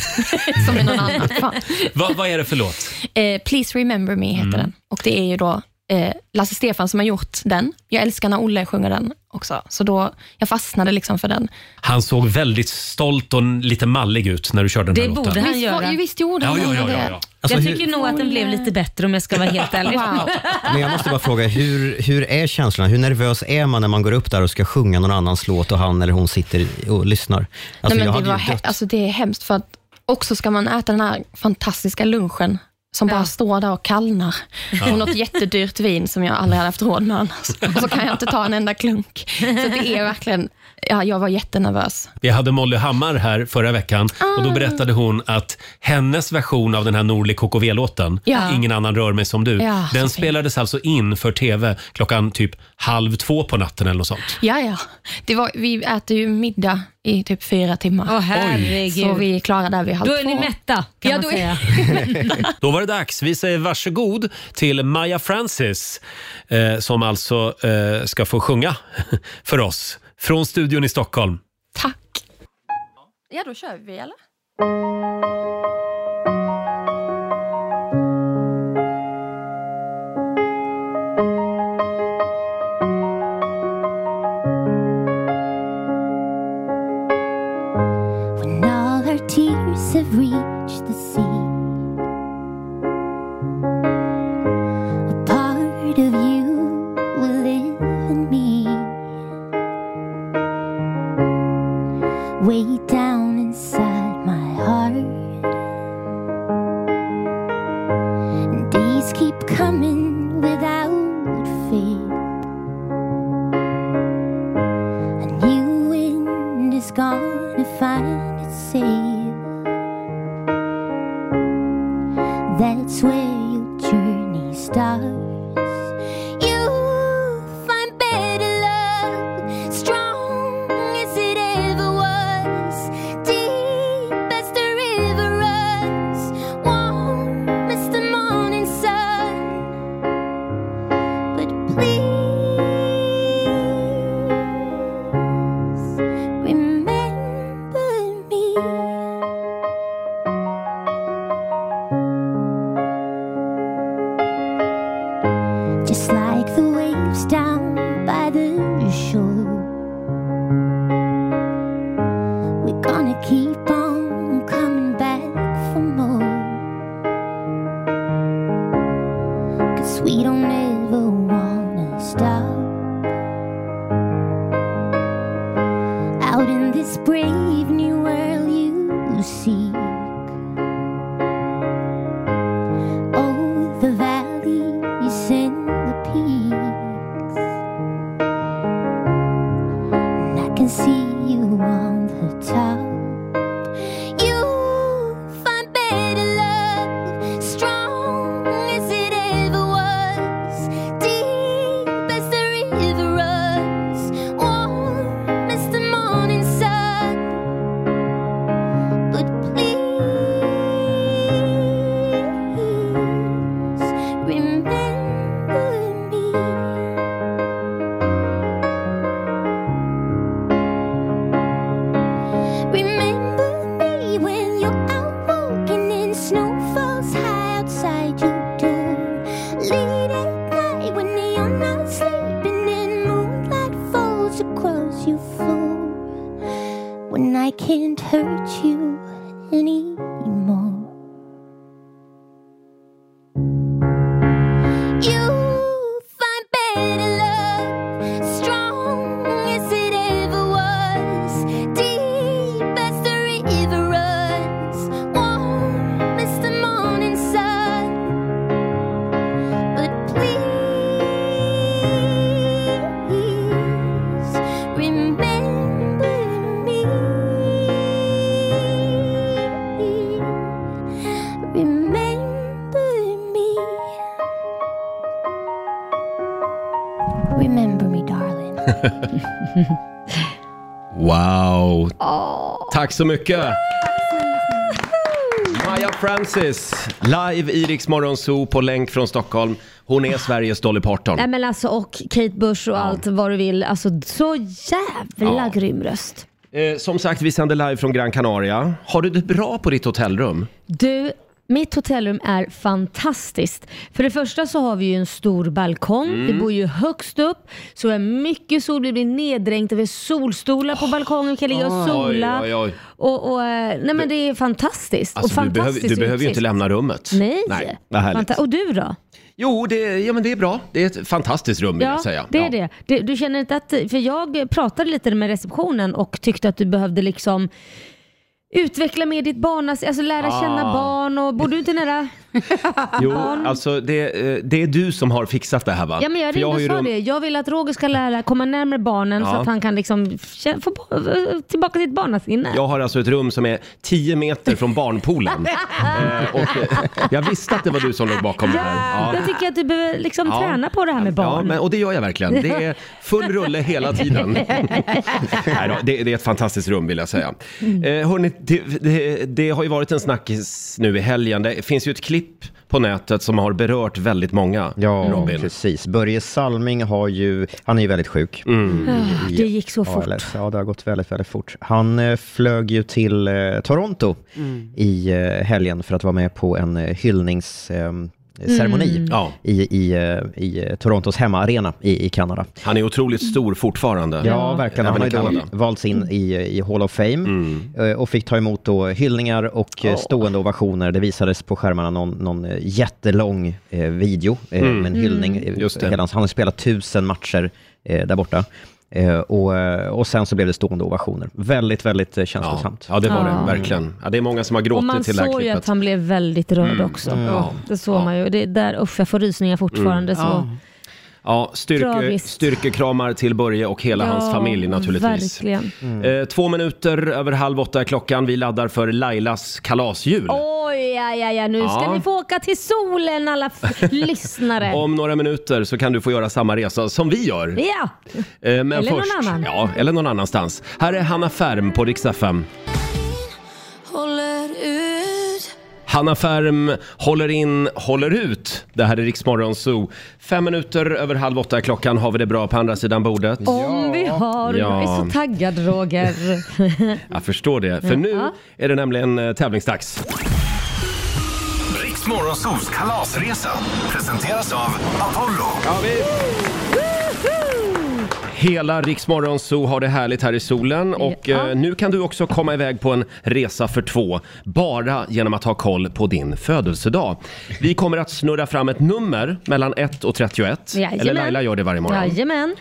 [SPEAKER 18] som är någon annan. Fan.
[SPEAKER 1] Vad, vad är det för låt?
[SPEAKER 11] Mm.
[SPEAKER 18] Eh, Please remember me heter den. Och Det är ju då eh, Lasse Stefan som har gjort den. Jag älskar när Olle sjunger den också, så då, jag fastnade liksom för den.
[SPEAKER 11] Han såg väldigt stolt och lite mallig ut när du körde den här låten.
[SPEAKER 18] visst, var- ju, Visst gjorde
[SPEAKER 11] Ja,
[SPEAKER 18] han
[SPEAKER 11] ja, ja, ja,
[SPEAKER 18] det?
[SPEAKER 11] ja.
[SPEAKER 18] Alltså,
[SPEAKER 19] jag
[SPEAKER 18] hur-
[SPEAKER 19] tycker nog att den blev lite bättre om jag ska vara helt ärlig.
[SPEAKER 18] Wow.
[SPEAKER 8] Men jag måste bara fråga, hur, hur är känslan? Hur nervös är man när man går upp där och ska sjunga någon annans låt och han eller hon sitter och lyssnar? Alltså, jag
[SPEAKER 18] Nej, men
[SPEAKER 8] hade
[SPEAKER 18] det,
[SPEAKER 8] ju
[SPEAKER 18] var he-
[SPEAKER 8] dött.
[SPEAKER 18] alltså, det är hemskt, för att också ska man äta den här fantastiska lunchen som bara står där och kallnar.
[SPEAKER 12] Ja.
[SPEAKER 18] Och något jättedyrt vin som jag aldrig hade haft råd med annars. Och så kan jag inte ta en enda klunk. Så det är verkligen, ja, jag var jättenervös.
[SPEAKER 11] Vi hade Molly Hammar här förra veckan och
[SPEAKER 18] Ah.
[SPEAKER 11] då berättade hon att hennes version av den här Norli KKV-låten,
[SPEAKER 18] Ja.
[SPEAKER 11] Ingen annan rör mig som du,
[SPEAKER 18] Ja, så
[SPEAKER 11] den
[SPEAKER 18] fint.
[SPEAKER 11] spelades alltså in för TV klockan typ halv två på natten eller något sånt.
[SPEAKER 18] Ja, ja. Det var, vi äter ju middag i typ fyra timmar.
[SPEAKER 19] Åh, herregud.
[SPEAKER 18] Så vi är klara där vid halv
[SPEAKER 19] Då är ni
[SPEAKER 18] två.
[SPEAKER 19] mätta, kan
[SPEAKER 18] ja,
[SPEAKER 19] man
[SPEAKER 18] då
[SPEAKER 19] säga.
[SPEAKER 11] Då var det dags. Vi säger varsågod till Maya Francis eh, som alltså eh, ska få sjunga för oss från studion i Stockholm.
[SPEAKER 18] Ja, då kör vi eller?
[SPEAKER 20] when all her tears have reached the sea. A part of you will live in me, way down inside my heart. And days keep coming without faith. A new wind is gonna find its sail. That's where your journey starts. You'll find better love, strong as it ever was, deep as the river runs, warm as the morning sun. But please. Remember me. Just like the waves down by the shore. We're gonna keep on coming back for more. Cause we don't ever wanna stop. out in this brave new world you seek. Oh, the valleys and the peaks. And I can see you on the top. You'll find better love, strong as it ever was, deep as the river runs, warm as the morning sun. But please remember me. Remember me when you're out walking and snow falls high outside your door. Late at night when you're not sleeping and moonlight falls across your floor. When I can't hurt you anymore. You find better love, strong as it ever was, deep as the river runs, warm as the morning sun. But please remember me. Remember me. Remember me, darling.
[SPEAKER 1] Wow! Tack så mycket! Maja Francis, live i Rix Morgon Zoo på länk från Stockholm. Hon är Sveriges Dolly Parton.
[SPEAKER 2] [laughs] Nej men alltså och Kate Bush och allt vad du vill. Alltså så jävla
[SPEAKER 1] Ja.
[SPEAKER 2] grym röst.
[SPEAKER 1] Eh, som sagt, vi sänder live från Gran Canaria. Har du det bra på ditt hotellrum?
[SPEAKER 2] Du, Mitt hotellrum är fantastiskt. För det första så har vi ju en stor balkong.
[SPEAKER 12] Mm.
[SPEAKER 2] Vi bor ju högst upp, så vi har mycket sol. Vi blir neddränkta. Vi har solstolar på balkongen. Vi kan ligga och
[SPEAKER 1] Oj,
[SPEAKER 2] sola.
[SPEAKER 1] oj, oj.
[SPEAKER 2] Och, och, eh, nej men det är fantastiskt. och
[SPEAKER 1] Alltså, du, behöver,
[SPEAKER 2] fantastisk
[SPEAKER 1] du behöver ju
[SPEAKER 2] utsikt.
[SPEAKER 1] inte lämna rummet.
[SPEAKER 2] Nej.
[SPEAKER 1] vad härligt.
[SPEAKER 2] Fanta- och du då?
[SPEAKER 1] Jo, det, ja, men det är bra. Det är ett fantastiskt rum vill
[SPEAKER 2] Ja,
[SPEAKER 1] jag säga.
[SPEAKER 2] det är det. Du, du känner inte att, för jag pratade lite med receptionen och tyckte att du behövde liksom utveckla mer ditt barn, alltså lära
[SPEAKER 1] Ah.
[SPEAKER 2] känna barn och bor du inte nära?
[SPEAKER 1] Jo, alltså det, eh, det är du som har fixat det här va?
[SPEAKER 2] Ja men jag
[SPEAKER 1] För
[SPEAKER 2] ringde
[SPEAKER 1] har
[SPEAKER 2] och
[SPEAKER 1] ju
[SPEAKER 2] sa
[SPEAKER 1] rum-
[SPEAKER 2] det, jag vill att Roger ska lära komma närmare barnen så
[SPEAKER 1] Ja.
[SPEAKER 2] att han kan liksom kä- få bo- tillbaka sitt barnasinne.
[SPEAKER 1] Jag har alltså ett rum som är 10 meter från
[SPEAKER 2] [laughs]
[SPEAKER 1] barnpoolen. eh, och, eh, jag visste att det var du som låg bakom det här.
[SPEAKER 2] Jag tycker att du behöver liksom
[SPEAKER 1] Ja.
[SPEAKER 2] träna på det här
[SPEAKER 1] Ja,
[SPEAKER 2] med barn.
[SPEAKER 1] men, och det gör jag verkligen. Det är full rulle hela
[SPEAKER 2] [laughs]
[SPEAKER 1] tiden. Nej då, det, det är ett fantastiskt rum vill jag säga.
[SPEAKER 2] Mm.
[SPEAKER 1] Eh, hörni, det, det, det har ju varit en snackis nu i helgen. Det finns ju ett klipp på nätet som har berört väldigt många.
[SPEAKER 8] Ja,
[SPEAKER 1] Robin.
[SPEAKER 8] precis. Börje Salming har ju, han är ju väldigt sjuk.
[SPEAKER 1] Mm.
[SPEAKER 2] Ah, det gick så fort.
[SPEAKER 8] ALS. Ja, det har gått väldigt, väldigt fort. Han eh, flög ju till eh, Toronto
[SPEAKER 2] Mm.
[SPEAKER 8] i eh, helgen för att vara med på en eh, hyllnings... Eh, ceremoni
[SPEAKER 1] Mm. Ja.
[SPEAKER 8] i, i, eh, i eh, Torontos hemmaarena i, i Kanada.
[SPEAKER 1] Han är otroligt stor fortfarande.
[SPEAKER 8] Ja, verkligen. Han
[SPEAKER 1] Även i
[SPEAKER 8] har ju
[SPEAKER 1] Kanada.
[SPEAKER 8] då valts in i, i Hall of Fame
[SPEAKER 1] Mm.
[SPEAKER 8] eh, och fick ta emot då hyllningar och eh, stående ovationer. Det visades på skärmarna någon, någon eh, jättelång eh, video eh,
[SPEAKER 1] Mm.
[SPEAKER 8] med en hyllning.
[SPEAKER 1] Mm.
[SPEAKER 8] eh,
[SPEAKER 1] Just det.
[SPEAKER 8] hela hans- Han har spelat tusen matcher eh, där borta. Eh, och, eh, och sen så blev det stående ovationer. Väldigt, väldigt eh, känslosamt.
[SPEAKER 1] Ja, det var
[SPEAKER 2] Ja.
[SPEAKER 1] det. Verkligen. Ja, det är många som har
[SPEAKER 2] Och
[SPEAKER 1] gråtit
[SPEAKER 2] man
[SPEAKER 1] till det här
[SPEAKER 2] såg ju
[SPEAKER 1] klippet.
[SPEAKER 2] att han blev väldigt rörd
[SPEAKER 1] Mm.
[SPEAKER 2] också.
[SPEAKER 1] Mm. Ja.
[SPEAKER 2] Det såg man ju. Och Det är där, usch jag får rysningar fortfarande.
[SPEAKER 1] Mm.
[SPEAKER 2] Så.
[SPEAKER 1] Ja. Ja, styrke,
[SPEAKER 2] Tragiskt.
[SPEAKER 1] styrkekramar till Börje och hela
[SPEAKER 2] Ja,
[SPEAKER 1] hans familj naturligtvis.
[SPEAKER 2] verkligen.
[SPEAKER 1] Eh, två minuter över halv åtta är klockan. Vi laddar för Lailas kalasjul.
[SPEAKER 2] Oj, ja, ja, ja. nu ska
[SPEAKER 1] Ja.
[SPEAKER 2] ni få åka till solen alla f-
[SPEAKER 1] [laughs]
[SPEAKER 2] lyssnare.
[SPEAKER 1] Om några minuter så kan du få göra samma resa som vi gör.
[SPEAKER 2] Ja,
[SPEAKER 1] Eh, men
[SPEAKER 2] Eller någon
[SPEAKER 1] först,
[SPEAKER 2] annan.
[SPEAKER 1] Ja, eller någon annanstans. Här är Hanna Färm på Rix FM.
[SPEAKER 5] Håller ut.
[SPEAKER 1] Hanna Färm håller in, håller ut. Det här är Riksmorgon Zoo. Fem minuter över halv åtta är klockan. Har vi det bra på andra sidan bordet?
[SPEAKER 2] om vi har. Jag är så taggad Roger.
[SPEAKER 1] Jag förstår det. För
[SPEAKER 2] Ja.
[SPEAKER 1] nu är det nämligen eh, tävlingsdags.
[SPEAKER 3] Riks Morgonzoos kalasresa presenteras av Apollo.
[SPEAKER 1] Ja, vi... Hela Riksmorgon Zoo har det härligt här i solen och
[SPEAKER 3] Ja.
[SPEAKER 1] eh, nu kan du också komma iväg på en resa för två bara genom att ha koll på din födelsedag. Vi kommer att snurra fram ett nummer mellan 1 och 31.
[SPEAKER 2] Jajamän.
[SPEAKER 1] Eller Laila gör det varje morgon.
[SPEAKER 2] Jajamän.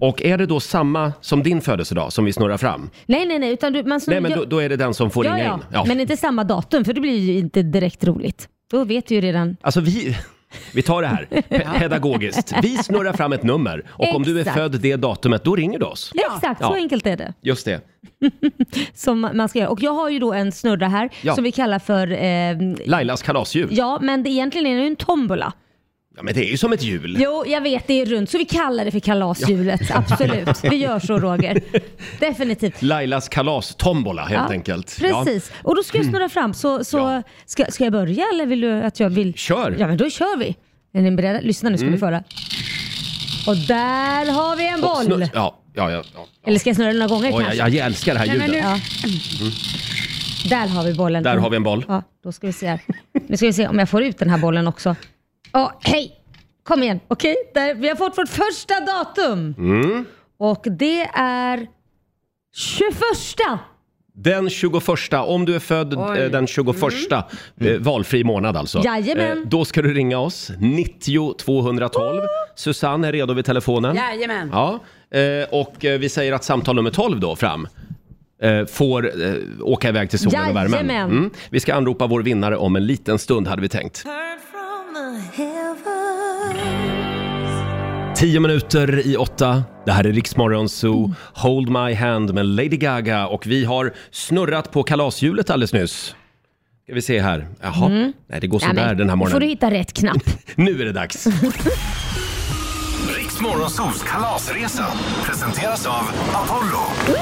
[SPEAKER 1] Och är det då samma som din födelsedag som vi snurrar fram?
[SPEAKER 2] Nej, nej, nej. Utan du, man
[SPEAKER 1] Nej men då, då är det den som får
[SPEAKER 2] ja,
[SPEAKER 1] ringa
[SPEAKER 2] ja.
[SPEAKER 1] in. Ja.
[SPEAKER 2] Men inte samma datum för det blir ju inte direkt roligt. Då vet du ju redan.
[SPEAKER 1] Alltså vi, vi tar det här pe- pedagogiskt. Vi snurrar fram ett nummer och om du är
[SPEAKER 2] Exakt.
[SPEAKER 1] född det datumet då ringer du oss.
[SPEAKER 2] Exakt,
[SPEAKER 1] Ja.
[SPEAKER 2] så enkelt är det.
[SPEAKER 1] Just det.
[SPEAKER 2] Som man ska göra. Och jag har ju då en snurra här
[SPEAKER 1] Ja.
[SPEAKER 2] som vi kallar för... Eh,
[SPEAKER 1] Lailas kalasjul.
[SPEAKER 2] ja, men det, egentligen är det ju en tombola.
[SPEAKER 1] Ja, men det är ju som ett hjul.
[SPEAKER 2] Jo, jag vet, det är runt. Så vi kallar det för kalashjulet. Absolut. Vi gör
[SPEAKER 1] [laughs]
[SPEAKER 2] så Roger. Definitivt.
[SPEAKER 1] Lailas kalastombola helt
[SPEAKER 2] Ja,
[SPEAKER 1] enkelt.
[SPEAKER 2] Precis.
[SPEAKER 1] Ja.
[SPEAKER 2] Och då ska jag snurra fram. Så, så ska, ska jag börja eller vill du att jag vill?
[SPEAKER 1] Kör.
[SPEAKER 2] Ja, men då kör vi. Är ni beredda? Lyssna nu ska
[SPEAKER 1] Mm.
[SPEAKER 2] du få höra. Och där har vi en
[SPEAKER 1] Och
[SPEAKER 2] boll.
[SPEAKER 1] snu- Ja, ja, ja. ja.
[SPEAKER 2] Eller ska jag snurra den några gånger
[SPEAKER 1] Oj,
[SPEAKER 2] kanske?
[SPEAKER 1] jag, jag älskar det här ljudet.
[SPEAKER 2] Ja. Där har vi bollen.
[SPEAKER 1] Där har vi en boll.
[SPEAKER 2] Ja, då ska vi se här. Nu ska vi se om jag får ut den här bollen också. Ja, hej! Kom igen. Okej, där, vi har fått vårt första datum.
[SPEAKER 1] Mm.
[SPEAKER 2] Och det är 21.
[SPEAKER 1] Den 21, om du är född
[SPEAKER 2] Oj. Mm.
[SPEAKER 1] eh, den 21, eh, valfri månad alltså.
[SPEAKER 6] Jajamän.
[SPEAKER 1] då ska du ringa oss, 90 212. Susanne är redo vid telefonen.
[SPEAKER 6] [laughs] Jajamän.
[SPEAKER 1] Ja, eh, och eh, vi säger att samtal nummer 12 då fram eh, får eh, åka iväg till solen och värmen. Mm.
[SPEAKER 5] Jajamän.
[SPEAKER 1] Vi ska anropa vår vinnare om en liten stund hade vi tänkt.
[SPEAKER 5] Heard from the heaven.
[SPEAKER 1] 10 minuter i åtta. Det här är Riksmorgon Zoo. Hold my hand med Lady Gaga och vi har snurrat på kalashjulet alldeles nyss. Ska vi se här. Jaha,
[SPEAKER 2] Mm.
[SPEAKER 1] nej det går
[SPEAKER 2] Ja,
[SPEAKER 1] sådär
[SPEAKER 2] men,
[SPEAKER 1] den här
[SPEAKER 2] Nu får du
[SPEAKER 1] morgonen.
[SPEAKER 2] hitta rätt knapp.
[SPEAKER 1] Nu är det dags.
[SPEAKER 3] Riks Morgonzoos kalasresa presenteras av Apollo.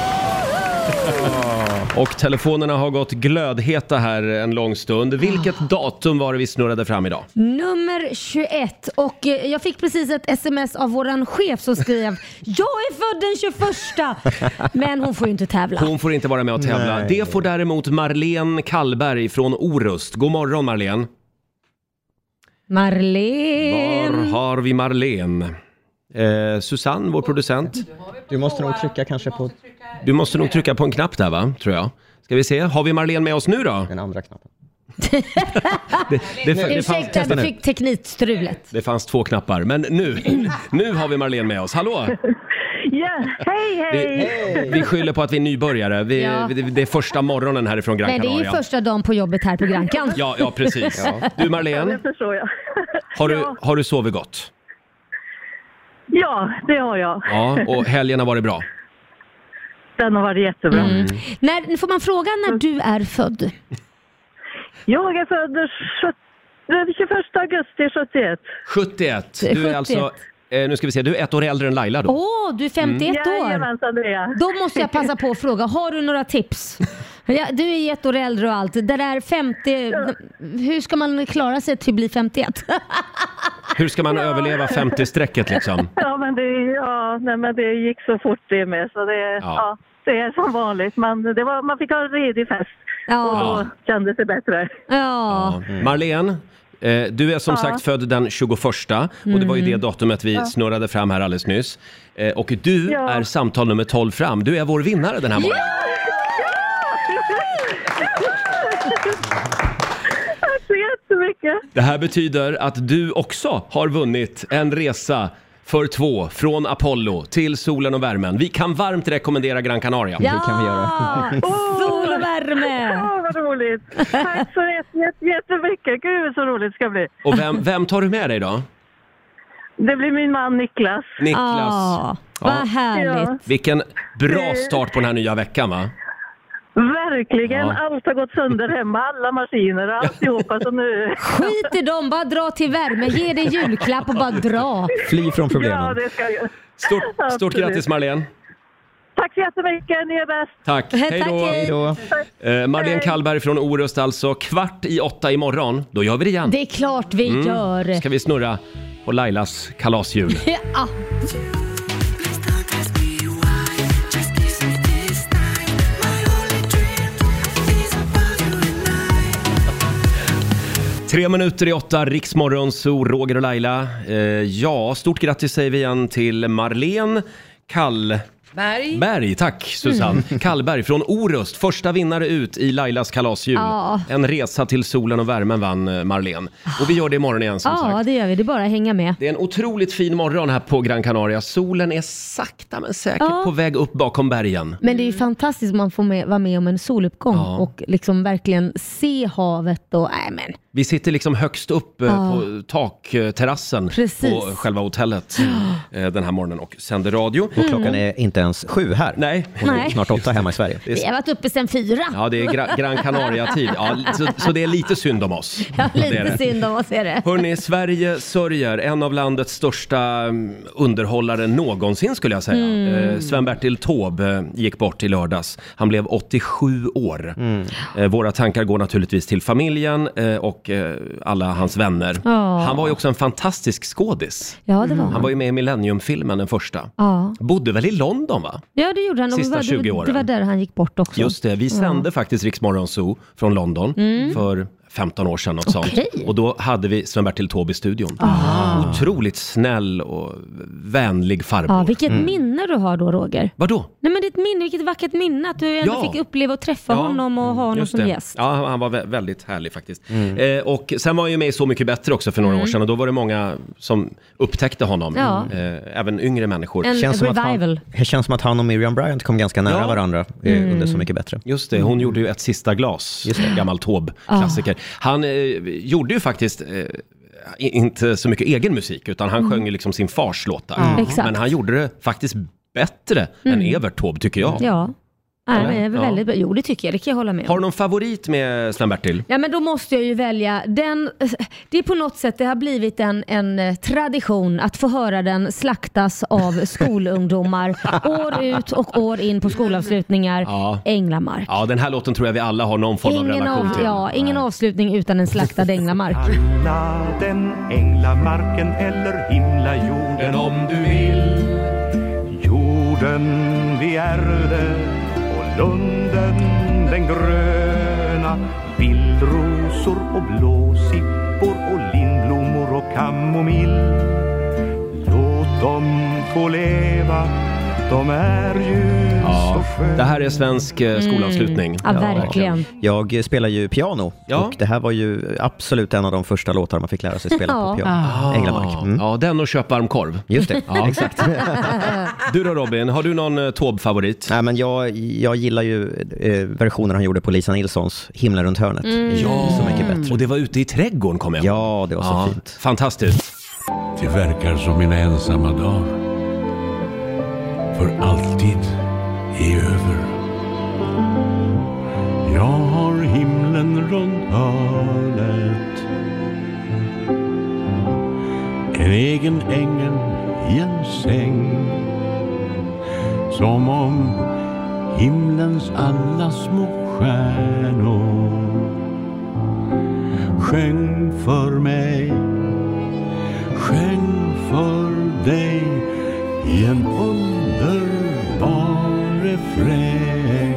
[SPEAKER 1] Och telefonerna har gått glödheta här en lång stund. Vilket
[SPEAKER 2] Ah.
[SPEAKER 1] datum var det vi snurrade fram idag?
[SPEAKER 2] Nummer 21 och eh, jag fick precis ett sms av våran chef som skrev Jag är född den 21 men hon får ju inte tävla.
[SPEAKER 1] Hon får inte vara med och tävla.
[SPEAKER 2] Nej.
[SPEAKER 1] Det får däremot Marlene Kallberg från Orust. God morgon Marlene. Var
[SPEAKER 2] Marlene.
[SPEAKER 1] har vi Marlene? Eh, Susanne, vår producent.
[SPEAKER 8] Du måste nog trycka kanske på...
[SPEAKER 1] Du måste nog trycka på en knapp där va, tror jag. Ska vi se, har vi Marlene med oss nu då? Den
[SPEAKER 8] andra knappen.
[SPEAKER 1] det, det, det, det, fanns,
[SPEAKER 2] Ursäkta,
[SPEAKER 1] testa
[SPEAKER 2] du
[SPEAKER 1] nu.
[SPEAKER 2] fick teknikstrulet.
[SPEAKER 1] det fanns två knappar, men
[SPEAKER 2] [clears throat]
[SPEAKER 1] nu, nu har vi Marlene med oss. Hallå!
[SPEAKER 21] Ja, hej
[SPEAKER 1] Vi,
[SPEAKER 21] hej!
[SPEAKER 1] vi skyller på att vi är nybörjare. Vi,
[SPEAKER 2] Ja.
[SPEAKER 1] det, det är första morgonen härifrån Gran
[SPEAKER 2] Nej, det
[SPEAKER 1] Canaria.
[SPEAKER 2] är ju första dagen på jobbet här på Grankan.
[SPEAKER 1] Ja, ja precis. Du Marlene,
[SPEAKER 21] Det förstår jag.
[SPEAKER 1] [laughs] har du, har du sovit gott?
[SPEAKER 21] Ja, det har jag.
[SPEAKER 1] Ja, och helgen har varit bra?
[SPEAKER 21] Den har varit jättebra.
[SPEAKER 13] Mm.
[SPEAKER 2] När, får man fråga när du är född?
[SPEAKER 21] Jag är född den sjut- den 21 augusti 71.
[SPEAKER 1] 71. Du är alltså, eh, nu ska vi se, du är ett år äldre än Laila då?
[SPEAKER 2] Åh, du är 51
[SPEAKER 21] Mm.
[SPEAKER 2] år.
[SPEAKER 21] Jajamensan, det är jag.
[SPEAKER 2] Då måste jag passa på att fråga, har du några tips? Ja, du är ett år äldre och allt. Det där 50, hur ska man klara sig till att bli [laughs] 51?
[SPEAKER 1] Hur ska man överleva 50-strecket liksom?
[SPEAKER 21] [laughs] Ja, men det, ja nej, men det gick så fort det med. Så det, ja. det är som vanligt. Man, det var, man fick ha en redig fest. Och då
[SPEAKER 1] Ja.
[SPEAKER 21] kändes det bättre.
[SPEAKER 2] Ja.
[SPEAKER 1] Mm. Marlene, eh, du är som
[SPEAKER 21] Ja.
[SPEAKER 1] sagt född den 21 och det var ju
[SPEAKER 21] Mm.
[SPEAKER 1] det datumet vi
[SPEAKER 21] Ja.
[SPEAKER 1] snurrade fram här alldeles nyss. Eh, och du är samtal nummer 12 fram. Du är vår vinnare den här morgonen.
[SPEAKER 21] [laughs] Tack så jättemycket!
[SPEAKER 1] Det här betyder att du också har vunnit en resa för två från Apollo till solen och värmen. Vi kan varmt rekommendera Gran Canaria.
[SPEAKER 2] Ja! Det kan vi göra.
[SPEAKER 1] [laughs]
[SPEAKER 2] Sol och värme!
[SPEAKER 21] Ja, vad roligt! Tack så jätte- jätte- jättemycket! Gud, så roligt det ska bli.
[SPEAKER 1] Och vem, vem tar du med dig då?
[SPEAKER 21] Det blir min man Niklas.
[SPEAKER 1] Niklas.
[SPEAKER 2] Ah, vad härligt.
[SPEAKER 21] Ja,
[SPEAKER 1] Vilken bra start på den här nya veckan va?
[SPEAKER 21] verkligen.
[SPEAKER 1] Ja.
[SPEAKER 21] Allt har gått sönder hemma, alla maskiner och alltihopa.
[SPEAKER 14] [laughs]
[SPEAKER 21] Så nu...
[SPEAKER 2] Skit i dem, bara dra till värme. Ge dig julklapp och bara dra.
[SPEAKER 8] Fly från
[SPEAKER 21] Ja,
[SPEAKER 8] problemen.
[SPEAKER 21] det ska jag.
[SPEAKER 1] Stort, Stort
[SPEAKER 21] Absolut.
[SPEAKER 1] grattis Marlene!
[SPEAKER 21] Tack så jättemycket, ni är bäst!
[SPEAKER 1] Tack! Hej då! Eh, Marlene Kallberg från Orust alltså. Kvart i åtta imorgon, då gör vi det igen.
[SPEAKER 2] Det är klart vi
[SPEAKER 1] Mm.
[SPEAKER 2] gör.
[SPEAKER 1] Ska vi snurra på Lailas kalashjul.
[SPEAKER 2] Ja.
[SPEAKER 1] Tre minuter i åtta, Riksmorgon, så Roger och Laila. Eh, ja, stort grattis säger vi igen till Marlene Kall...
[SPEAKER 6] Berg.
[SPEAKER 1] Berg, tack Susanne. Kallberg från Orust, första vinnare ut i Lailas kalasjul.
[SPEAKER 2] Ja.
[SPEAKER 1] En resa till solen och värmen vann eh, Marlene. Och vi gör det imorgon igen som sagt.
[SPEAKER 2] ja, det gör vi. Det är bara att hänga med.
[SPEAKER 1] Det är en otroligt fin morgon här på Gran Canaria. Solen är sakta men säkert
[SPEAKER 2] Ja.
[SPEAKER 1] på väg upp bakom bergen.
[SPEAKER 2] Men det är ju fantastiskt att man får med, vara med om en soluppgång och liksom verkligen se havet och... Nej, men.
[SPEAKER 1] Vi sitter liksom högst upp eh,
[SPEAKER 2] Ja.
[SPEAKER 1] på takterrassen
[SPEAKER 2] Precis.
[SPEAKER 1] på själva hotellet eh, den här morgonen och sänder radio.
[SPEAKER 2] Och klockan Mm.
[SPEAKER 1] är inte ens sju här. Nej.
[SPEAKER 2] Och det är Nej. snart
[SPEAKER 1] åtta hemma i Sverige.
[SPEAKER 2] Vi har varit uppe sedan fyra.
[SPEAKER 1] Ja, det är Gra- Gran Canaria-tid. Ja, så, så det är lite synd om oss.
[SPEAKER 2] Ja,
[SPEAKER 1] Det är
[SPEAKER 2] [laughs] lite
[SPEAKER 1] det.
[SPEAKER 2] synd om oss är det.
[SPEAKER 1] Hörni, Sverige sörjer en av landets största mm, underhållare någonsin skulle jag säga.
[SPEAKER 2] Mm.
[SPEAKER 1] Eh, Sven-Bertil Taube eh, gick bort i lördags. Han blev 87 år.
[SPEAKER 2] Mm.
[SPEAKER 1] Eh, våra tankar går naturligtvis till familjen eh, och eh, alla hans vänner.
[SPEAKER 2] Ja.
[SPEAKER 1] Han var ju också en fantastisk skådis.
[SPEAKER 2] Ja, det var
[SPEAKER 1] han
[SPEAKER 2] han.
[SPEAKER 1] var ju med i Millennium-filmen, den första.
[SPEAKER 2] Ja.
[SPEAKER 1] Bodde väl i London va?
[SPEAKER 2] ja, det gjorde han. Och
[SPEAKER 1] Sista
[SPEAKER 2] det var-
[SPEAKER 1] 20 åren.
[SPEAKER 2] Det var där han gick bort också.
[SPEAKER 1] Just det, vi
[SPEAKER 2] Ja.
[SPEAKER 1] sände faktiskt Riksmorgon Zoo från London
[SPEAKER 2] Mm.
[SPEAKER 1] för 15 år sedan. Något sånt. Och då hade vi Sven-Bertil Taube i studion.
[SPEAKER 2] Ah.
[SPEAKER 1] Otroligt snäll och vänlig farbror.
[SPEAKER 2] Ja, vilket minne du har då, Roger.
[SPEAKER 1] Vadå?
[SPEAKER 2] Nej, men det är ett minne, vilket vackert minne att du ändå
[SPEAKER 1] Ja.
[SPEAKER 2] fick uppleva och träffa honom och ha honom
[SPEAKER 1] Just
[SPEAKER 2] som
[SPEAKER 1] det.
[SPEAKER 2] gäst.
[SPEAKER 1] Ja, han- han var vä- väldigt härlig faktiskt. Eh, och sen var han ju med i Så mycket bättre också för några
[SPEAKER 2] Mm.
[SPEAKER 1] år sedan och då var det många som upptäckte honom.
[SPEAKER 2] Ja.
[SPEAKER 1] Eh, även yngre människor.
[SPEAKER 2] En Känns som att han- revival.
[SPEAKER 8] Det känns som att han och Miriam Bryant kom ganska nära
[SPEAKER 1] Ja.
[SPEAKER 8] varandra eh,
[SPEAKER 1] Mm.
[SPEAKER 8] under Så mycket bättre.
[SPEAKER 1] Just det,
[SPEAKER 2] Mm.
[SPEAKER 1] hon gjorde ju ett sista glas, gammal
[SPEAKER 2] Ah.
[SPEAKER 1] Taube-klassiker. Han eh, gjorde ju faktiskt eh, i- inte så mycket egen musik, utan han sjöng ju liksom sin fars låtar.
[SPEAKER 2] Ja. Mm. Exakt.
[SPEAKER 1] Men han gjorde det faktiskt bättre
[SPEAKER 2] Mm.
[SPEAKER 1] än Evert Taube, tycker jag.
[SPEAKER 2] Ja. Nej, men det är väl
[SPEAKER 1] Ja.
[SPEAKER 2] väldigt bra. Jo, det tycker jag. Det kan jag hålla med om.
[SPEAKER 1] Har du någon favorit med Sven-Bertil?
[SPEAKER 2] Ja men då måste jag ju välja den, det är på något sätt det har blivit en, en eh, tradition att få höra den slaktas
[SPEAKER 1] [laughs]
[SPEAKER 2] av skolungdomar år ut och år in på skolavslutningar.
[SPEAKER 1] Ja.
[SPEAKER 2] Änglamark.
[SPEAKER 1] Ja, den här låten tror jag vi alla har någon form av
[SPEAKER 2] Ingen,
[SPEAKER 1] relation
[SPEAKER 2] av,
[SPEAKER 1] till.
[SPEAKER 2] ja, ingen avslutning utan
[SPEAKER 1] [laughs]
[SPEAKER 2] en slaktad änglamark.
[SPEAKER 3] Alla den änglamarken eller himla jorden om du vill. Jorden vi ärvde och lunden den gröna. Vildrosor och blåsippor och lindblommor och kamomill. Låt dem få leva, de är ljus och sköna.
[SPEAKER 1] Det här är svensk
[SPEAKER 2] Mm.
[SPEAKER 1] eh, skolavslutning.
[SPEAKER 2] Ja, verkligen.
[SPEAKER 8] Jag eh, spelar ju piano och det här var ju absolut en av de första låtar man fick lära sig spela
[SPEAKER 2] Ja.
[SPEAKER 8] på piano.
[SPEAKER 2] Ah.
[SPEAKER 8] Änglamark. Mm.
[SPEAKER 1] Ja, den och köp varmkorv.
[SPEAKER 8] Just det,
[SPEAKER 1] [laughs]
[SPEAKER 2] [laughs]
[SPEAKER 1] Ja.
[SPEAKER 3] [laughs]
[SPEAKER 8] exakt.
[SPEAKER 1] Du då Robin, har du någon eh, Taube-favorit?
[SPEAKER 8] Nej, men jag, jag gillar ju eh, versionen han gjorde på Lisa Nilssons Himlen runt hörnet.
[SPEAKER 1] Mm. Ja.
[SPEAKER 8] Så mycket bättre.
[SPEAKER 1] Och det var ute i trädgården kom jag
[SPEAKER 8] Ja, det var
[SPEAKER 1] Ja,
[SPEAKER 8] så fint.
[SPEAKER 1] Fantastiskt.
[SPEAKER 22] Det verkar som mina ensamma dagar. För alltid är över. Jag har himlen runt hörnet. En egen ängel i en säng. Som om himlens alla små stjärnor sjöng för mig sjöng för dig i en underbar refräng.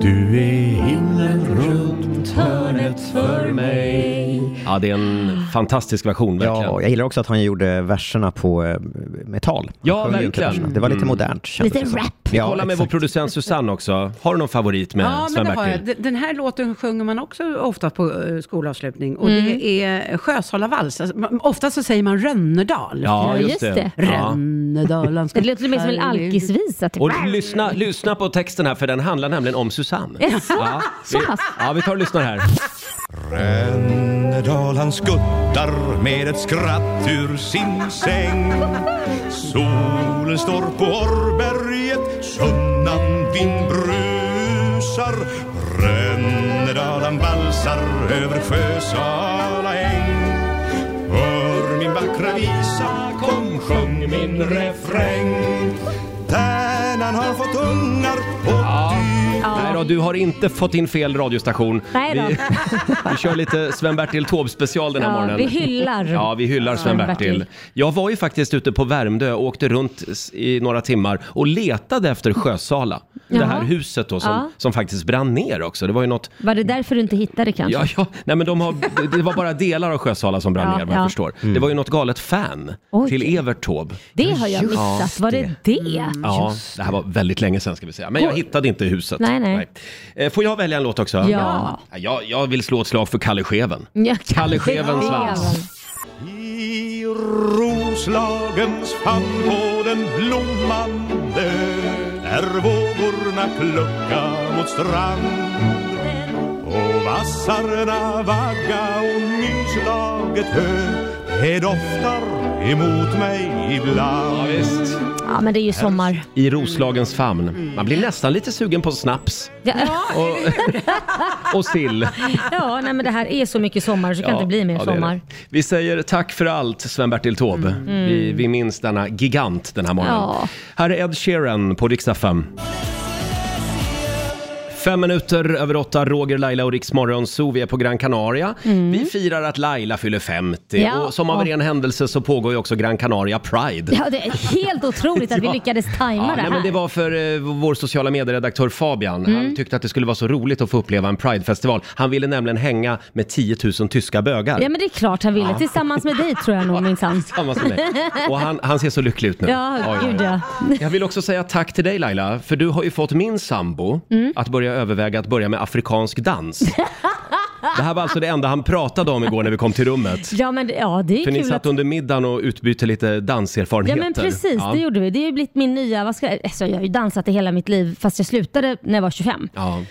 [SPEAKER 22] Du är himlen runt hörnet för mig.
[SPEAKER 1] Ja, det är en fantastisk version verkligen.
[SPEAKER 8] Ja, jag gillar också att han gjorde verserna på eh, metall.
[SPEAKER 1] Ja,
[SPEAKER 8] Han sjöng ju inte
[SPEAKER 1] verkligen.
[SPEAKER 8] verserna. Det var lite
[SPEAKER 1] Mm.
[SPEAKER 8] modernt. kändes
[SPEAKER 6] Lite
[SPEAKER 8] det som.
[SPEAKER 6] rap.
[SPEAKER 1] Vi
[SPEAKER 8] Ja,
[SPEAKER 1] kollar med vår
[SPEAKER 8] exakt.
[SPEAKER 1] producent Susanne också. Har du någon favorit med
[SPEAKER 6] ja, men det har jag.
[SPEAKER 1] Sven-Bertil?
[SPEAKER 6] D- Den här låten sjunger man också ofta på eh, skolavslutning och
[SPEAKER 1] Mm.
[SPEAKER 6] det är Sjösalavals. Alltså, man- ofta så säger man Rönnedal.
[SPEAKER 1] Ja, Ja, just just det. det. Ja.
[SPEAKER 6] Rönnedalan ska
[SPEAKER 2] Det låter mer som en alkisvisa. Typ.
[SPEAKER 1] Och lyssna, lyssna på texten här för den handlar nämligen om Susanne.
[SPEAKER 2] Jaså?
[SPEAKER 1] vi,
[SPEAKER 2] Så pass?
[SPEAKER 1] ja, vi tar och lyssnar här.
[SPEAKER 3] Rönnedal han skuttar med ett skratt ur sin säng Solen står på Orrberget, sunnan vind brusar Rönnedal han valsar över Sjösala äng Hör min vackra visa, kom sjung min refräng Tärnan har fått ungar och
[SPEAKER 1] Nej då, du har inte fått in fel radiostation.
[SPEAKER 2] Nej då.
[SPEAKER 1] vi, vi kör
[SPEAKER 2] [laughs]
[SPEAKER 1] lite Sven-Bertil Taube-special den här
[SPEAKER 2] Ja,
[SPEAKER 1] morgonen.
[SPEAKER 2] vi hyllar.
[SPEAKER 1] Ja, vi hyllar Sven-Bertil.
[SPEAKER 2] Sven-Bertil.
[SPEAKER 1] Jag var ju faktiskt ute på Värmdö och åkte runt s- i några timmar och letade efter Sjösala. Det här
[SPEAKER 2] Jaha.
[SPEAKER 1] huset då som,
[SPEAKER 2] Ja.
[SPEAKER 1] som faktiskt brann ner också. Det var ju något
[SPEAKER 2] Var det därför du inte hittade kanske?
[SPEAKER 1] Ja, ja. Nej, men de har, det var bara delar av Sjösala som brann
[SPEAKER 2] Ja,
[SPEAKER 1] ner vad jag
[SPEAKER 2] ja.
[SPEAKER 1] förstår. Det var ju något galet fan
[SPEAKER 2] Oj.
[SPEAKER 1] till Evert Taube.
[SPEAKER 2] Det har
[SPEAKER 1] Ja,
[SPEAKER 2] jag missat. Var det det?
[SPEAKER 1] Ja, det här var väldigt länge sedan ska vi säga. Men jag
[SPEAKER 2] Oj.
[SPEAKER 1] hittade inte huset.
[SPEAKER 2] Nej, nej.
[SPEAKER 1] Eh, Får jag välja en låt också?
[SPEAKER 2] Ja.
[SPEAKER 1] Jag, jag vill slå ett slag för Kalle Scheven.
[SPEAKER 2] Ja,
[SPEAKER 1] Kalle Schevens svans.
[SPEAKER 3] I Roslagens famn på den blommande är vågorna klocka mot strand och vassarna vagga och nyslaget hö det doftar emot mig ibland.
[SPEAKER 2] Ja, men det är ju sommar.
[SPEAKER 1] I Roslagens famn. Man blir nästan lite sugen på snaps.
[SPEAKER 2] Ja, [laughs]
[SPEAKER 1] Och, och sill.
[SPEAKER 2] ja nej, men [laughs] det här är så mycket sommar så det kan
[SPEAKER 1] Ja,
[SPEAKER 2] inte bli mer
[SPEAKER 1] ja, det är det.
[SPEAKER 2] sommar.
[SPEAKER 1] Vi säger tack för allt, Sven-Bertil Taube.
[SPEAKER 2] Mm.
[SPEAKER 1] Vi, vi minns denna gigant den här morgonen.
[SPEAKER 2] Ja.
[SPEAKER 1] Här är Ed Sheeran på Rix FM. Fem minuter över åtta, Roger, Laila och Rix Morgonzoo. Vi är på Gran Canaria. Vi firar att Laila fyller 50
[SPEAKER 2] Mm. Ja.
[SPEAKER 1] och som av en ren händelse så pågår ju också Gran Canaria Pride.
[SPEAKER 2] Ja, det är helt otroligt att
[SPEAKER 1] [laughs]
[SPEAKER 2] vi
[SPEAKER 1] Ja.
[SPEAKER 2] lyckades tajma
[SPEAKER 1] Ja,
[SPEAKER 2] det
[SPEAKER 1] nej, men
[SPEAKER 2] här.
[SPEAKER 1] det var för eh, vår sociala medieredaktör Fabian. Han
[SPEAKER 2] Mm.
[SPEAKER 1] tyckte att det skulle vara så roligt att få uppleva en Pride-festival. Han ville nämligen hänga med 10 000 tyska bögar.
[SPEAKER 2] Ja men det är klart han ville.
[SPEAKER 1] Ja.
[SPEAKER 2] Tillsammans med dig tror
[SPEAKER 1] [laughs]
[SPEAKER 2] jag nog minsann.
[SPEAKER 1] Tillsammans med mig. Och han, han ser så lycklig ut nu.
[SPEAKER 2] Ja, gud ja.
[SPEAKER 1] Jag vill också säga tack till dig Laila, för du har ju fått min sambo
[SPEAKER 2] Mm.
[SPEAKER 1] att börja överväga att börja med afrikansk
[SPEAKER 2] [laughs]
[SPEAKER 1] dans. Det här var alltså det enda han pratade om igår när vi kom till rummet.
[SPEAKER 2] Ja men ja, det är
[SPEAKER 1] För ni
[SPEAKER 2] kul
[SPEAKER 1] satt
[SPEAKER 2] att...
[SPEAKER 1] under middagen och utbytte lite
[SPEAKER 2] Ja
[SPEAKER 1] danserfarenheter.
[SPEAKER 2] men precis, det gjorde vi. Det har ju blivit min nya, vad ska jag, alltså, jag har ju dansat i hela mitt liv fast jag slutade när jag var 25.
[SPEAKER 1] Ja.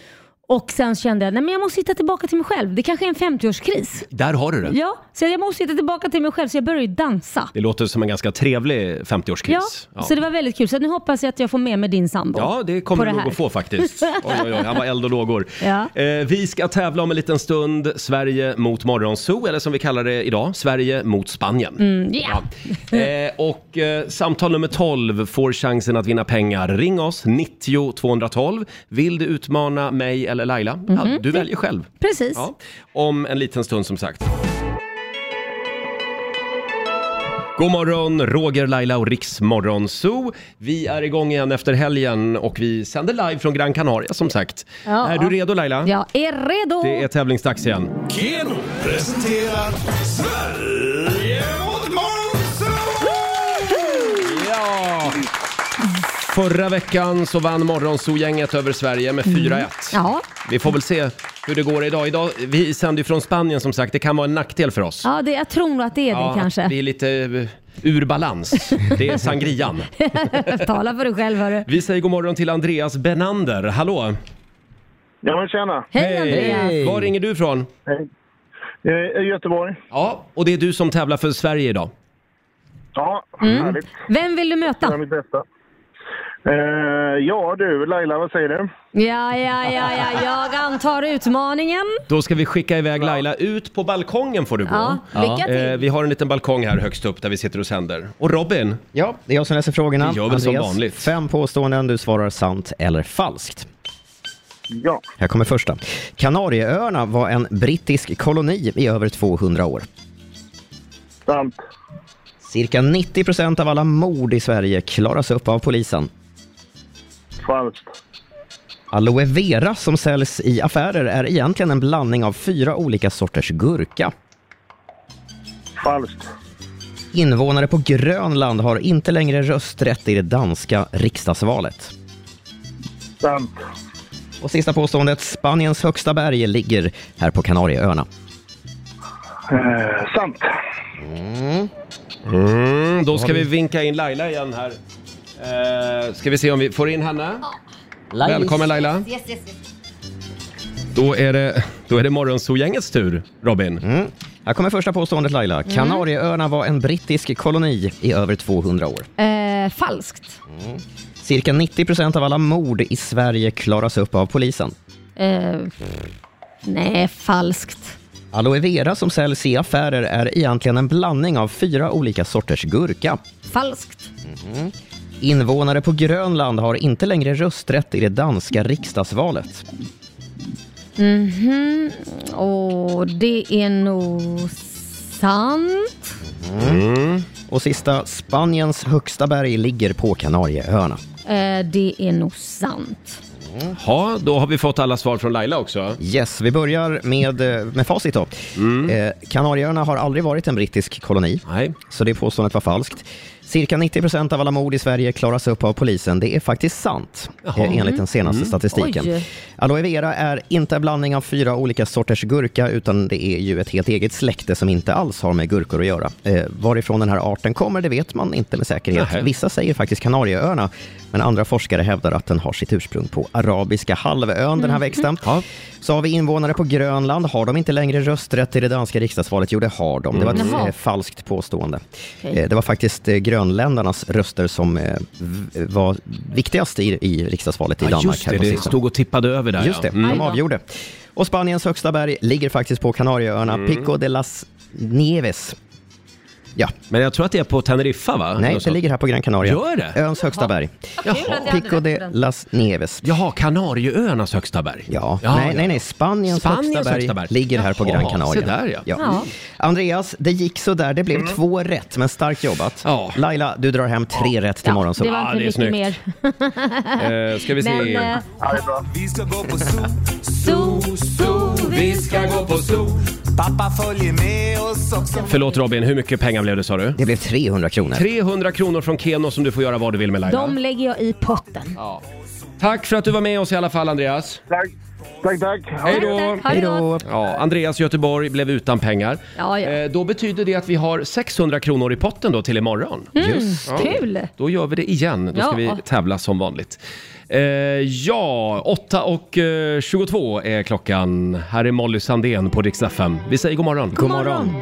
[SPEAKER 2] Och sen kände jag, nej men jag måste hitta tillbaka till mig själv. Det kanske är en 50-årskris.
[SPEAKER 1] Där har du det.
[SPEAKER 2] Ja, så jag måste hitta tillbaka till mig själv så jag började ju dansa.
[SPEAKER 1] Det låter som en ganska trevlig 50-årskris.
[SPEAKER 2] Ja, så det var väldigt kul. Så nu hoppas jag att jag får med mig din sambo.
[SPEAKER 1] Ja, det kommer
[SPEAKER 2] på
[SPEAKER 1] du
[SPEAKER 2] det
[SPEAKER 1] nog
[SPEAKER 2] här.
[SPEAKER 1] att få
[SPEAKER 2] [laughs]
[SPEAKER 1] faktiskt. Oj, oj, oj, han var eld och lågor.
[SPEAKER 2] Ja.
[SPEAKER 1] Eh, vi ska tävla om en liten stund. Sverige mot Morgonzoo, eller som vi kallar det idag, Sverige mot Spanien.
[SPEAKER 2] Mm, yeah.
[SPEAKER 1] Ja. Eh, och eh, samtal nummer 12 får chansen att vinna pengar. Ring oss, 90 212. Vill du utmana mig eller Laila? ja,
[SPEAKER 2] Mhm.
[SPEAKER 1] du väljer själv.
[SPEAKER 2] Precis.
[SPEAKER 1] Ja. Om en liten stund som sagt. God morgon, Roger, Laila och Riksmorgon Zoo. Vi är igång igen efter helgen och vi sänder live från Gran Canaria som sagt.
[SPEAKER 2] Ja.
[SPEAKER 1] Är du redo Laila?
[SPEAKER 2] Jag är redo!
[SPEAKER 1] Det är tävlingsdags igen.
[SPEAKER 3] Keno presenterar Sverige mot Månsson!
[SPEAKER 1] Ja! Förra veckan så vann Morgonzoo-gänget över Sverige med 4-1.
[SPEAKER 2] Mm. Ja.
[SPEAKER 1] Vi får väl se hur det går idag. idag. Vi sänder ju från Spanien som sagt, det kan vara en nackdel för oss.
[SPEAKER 2] Ja, det, jag tror nog att det är
[SPEAKER 1] Ja,
[SPEAKER 2] det kanske.
[SPEAKER 1] att Vi är lite eh, ur balans. Det är
[SPEAKER 2] [laughs]
[SPEAKER 1] sangrian.
[SPEAKER 2] [laughs] Tala för dig själv hörru.
[SPEAKER 1] Vi säger god morgon till Andreas Benander. Hallå!
[SPEAKER 23] Ja men tjena!
[SPEAKER 2] Hej, Andreas.
[SPEAKER 1] Var ringer du ifrån?
[SPEAKER 23] Hej! Eh, Göteborg.
[SPEAKER 1] Ja, och det är du som tävlar för Sverige idag.
[SPEAKER 23] Ja, härligt.
[SPEAKER 2] Vem vill du
[SPEAKER 23] Jag
[SPEAKER 2] möta?
[SPEAKER 23] gör mitt bästa. Eh, ja du, Laila, vad säger du?
[SPEAKER 2] Ja, ja, ja, ja, jag antar utmaningen.
[SPEAKER 1] Då ska vi skicka iväg Laila ut på balkongen får du gå.
[SPEAKER 2] Ja, lycka till.
[SPEAKER 1] Eh, Vi har en liten balkong här högst upp där vi sitter och sänder. Och Robin,
[SPEAKER 8] Ja, det är jag som läser frågorna.
[SPEAKER 1] Vi gör väl som
[SPEAKER 8] Andreas,
[SPEAKER 1] vanligt.
[SPEAKER 8] Fem påståenden, du svarar sant eller falskt.
[SPEAKER 23] Ja.
[SPEAKER 8] Här kommer första. Kanarieöarna var en brittisk koloni i över 200 år.
[SPEAKER 23] Sant.
[SPEAKER 8] Cirka 90 procent av alla mord i Sverige klaras upp av polisen.
[SPEAKER 23] Falskt.
[SPEAKER 8] Aloe vera som säljs i affärer är egentligen en blandning av fyra olika sorters gurka.
[SPEAKER 23] Falskt.
[SPEAKER 8] Invånare på Grönland har inte längre rösträtt i det danska riksdagsvalet.
[SPEAKER 23] Sant.
[SPEAKER 8] Och sista påståendet, Spaniens högsta berg ligger här på Kanarieöarna.
[SPEAKER 23] Eh, sant.
[SPEAKER 8] Mm.
[SPEAKER 1] Mm, då
[SPEAKER 8] Vad
[SPEAKER 1] ska
[SPEAKER 8] har
[SPEAKER 1] vi
[SPEAKER 8] vi?
[SPEAKER 1] vinka in Laila igen här. Eh, ska vi se om vi får in henne. Välkommen Laila.
[SPEAKER 19] Yes, yes, yes.
[SPEAKER 1] Då är det, då är det Morgonzoo-gängets tur, Robin.
[SPEAKER 8] Mm. Här kommer första påståendet Laila. Kanarieöarna var en brittisk koloni i över 200 år.
[SPEAKER 2] Eh, falskt.
[SPEAKER 8] Mm. Cirka 90 procent av alla mord i Sverige klaras upp av polisen.
[SPEAKER 2] Eh, nej, falskt.
[SPEAKER 8] Aloe vera som säljs i affärer är egentligen en blandning av fyra olika sorters gurka.
[SPEAKER 2] Falskt.
[SPEAKER 8] Mm. Invånare på Grönland har inte längre rösträtt i det danska riksdagsvalet.
[SPEAKER 2] Mhm. Och det är nog sant.
[SPEAKER 8] Mm. Och sista, Spaniens högsta berg ligger på Kanarieöarna.
[SPEAKER 2] Eh, det är nog sant.
[SPEAKER 1] Ja, då har vi fått alla svar från Laila också.
[SPEAKER 8] Yes, vi börjar med, eh, med facit då. Eh, Kanarieöarna har aldrig varit en brittisk koloni,
[SPEAKER 1] Nej.
[SPEAKER 8] så det påståendet var falskt. Cirka 90 procent av alla mord i Sverige klaras upp av polisen. Det är faktiskt sant,
[SPEAKER 14] Jaha.
[SPEAKER 8] eh, enligt den senaste
[SPEAKER 14] Mm.
[SPEAKER 8] statistiken.
[SPEAKER 14] Oj.
[SPEAKER 8] Aloe vera är inte en blandning av fyra olika sorters gurka, utan det är ju ett helt eget släkte som inte alls har med gurkor att göra. Eh, varifrån den här arten kommer, det vet man inte med säkerhet.
[SPEAKER 1] Nähä.
[SPEAKER 8] Vissa säger faktiskt Kanarieöarna, men andra forskare hävdar att den har sitt ursprung på Arabiska halvön, den här
[SPEAKER 14] Mhm.
[SPEAKER 8] växten. Så har vi invånare på Grönland. Har de inte längre rösträtt i det danska riksdagsvalet? Jo, det har de. Det var ett
[SPEAKER 14] Mm. Jaha.
[SPEAKER 8] eh, falskt påstående.
[SPEAKER 14] Okej.
[SPEAKER 8] Eh, Det var faktiskt eh, grönländarnas röster som eh, v- var viktigast i, i riksdagsvalet i
[SPEAKER 1] Ja,
[SPEAKER 8] Danmark.
[SPEAKER 1] just det,
[SPEAKER 8] här på
[SPEAKER 1] det
[SPEAKER 8] sistone.
[SPEAKER 1] stod och tippade över där.
[SPEAKER 8] Just det,
[SPEAKER 1] ja. Mm.
[SPEAKER 8] de avgjorde. Och Spaniens högsta berg ligger faktiskt på Kanarieöarna,
[SPEAKER 1] Mm.
[SPEAKER 8] Pico de las Nieves. Ja.
[SPEAKER 1] Men jag tror att det är på Teneriffa va?
[SPEAKER 8] Nej,
[SPEAKER 1] Något
[SPEAKER 8] det
[SPEAKER 1] sånt.
[SPEAKER 8] ligger här på Gran Canaria.
[SPEAKER 1] Gör det?
[SPEAKER 8] Öns högsta berg. Pico de las Nieves.
[SPEAKER 1] Jaha, Kanarieöarnas högsta berg.
[SPEAKER 8] Ja,
[SPEAKER 1] Ja,
[SPEAKER 8] nej,
[SPEAKER 1] ja.
[SPEAKER 8] nej, nej. Spaniens,
[SPEAKER 1] Spaniens
[SPEAKER 8] högsta, berg
[SPEAKER 1] högsta berg.
[SPEAKER 8] ligger här på
[SPEAKER 1] Jaha,
[SPEAKER 8] Gran Canaria. Mm.
[SPEAKER 1] se där, ja. Ja.
[SPEAKER 8] Andreas, det gick så där. Det blev
[SPEAKER 24] Mm.
[SPEAKER 8] två rätt, men starkt jobbat. Laila, du drar hem tre rätt till morgon.
[SPEAKER 2] det var inte mycket mer.
[SPEAKER 8] Eh, ska vi se.
[SPEAKER 2] Men, eh,
[SPEAKER 3] Vi ska gå på zoo, zoo, zoo. Vi ska gå på zoo. Pappa följer med oss också.
[SPEAKER 1] Förlåt Robin, hur mycket pengar blev det sa du?
[SPEAKER 8] Det blev 300 kronor.
[SPEAKER 1] 300 kronor från Keno som du får göra vad du vill med Laila.
[SPEAKER 2] De lägger jag i potten.
[SPEAKER 1] Tack för att du var med oss i alla fall Andreas.
[SPEAKER 23] Tack. Tack, tack.
[SPEAKER 1] Hej då!
[SPEAKER 2] Hej då!
[SPEAKER 1] Ja, Andreas Göteborg blev utan pengar.
[SPEAKER 2] Ja, ja.
[SPEAKER 1] Eh, Då betyder det att vi har 600 kronor i potten då till imorgon.
[SPEAKER 2] Mm, Just det. kul.
[SPEAKER 1] Då gör vi det igen. Då ska
[SPEAKER 2] Ja.
[SPEAKER 1] vi tävla som vanligt. Eh, ja, 8 och eh, 22 är klockan. Här är Molly Sandén på Rix FM. Vi säger god morgon. God morgon.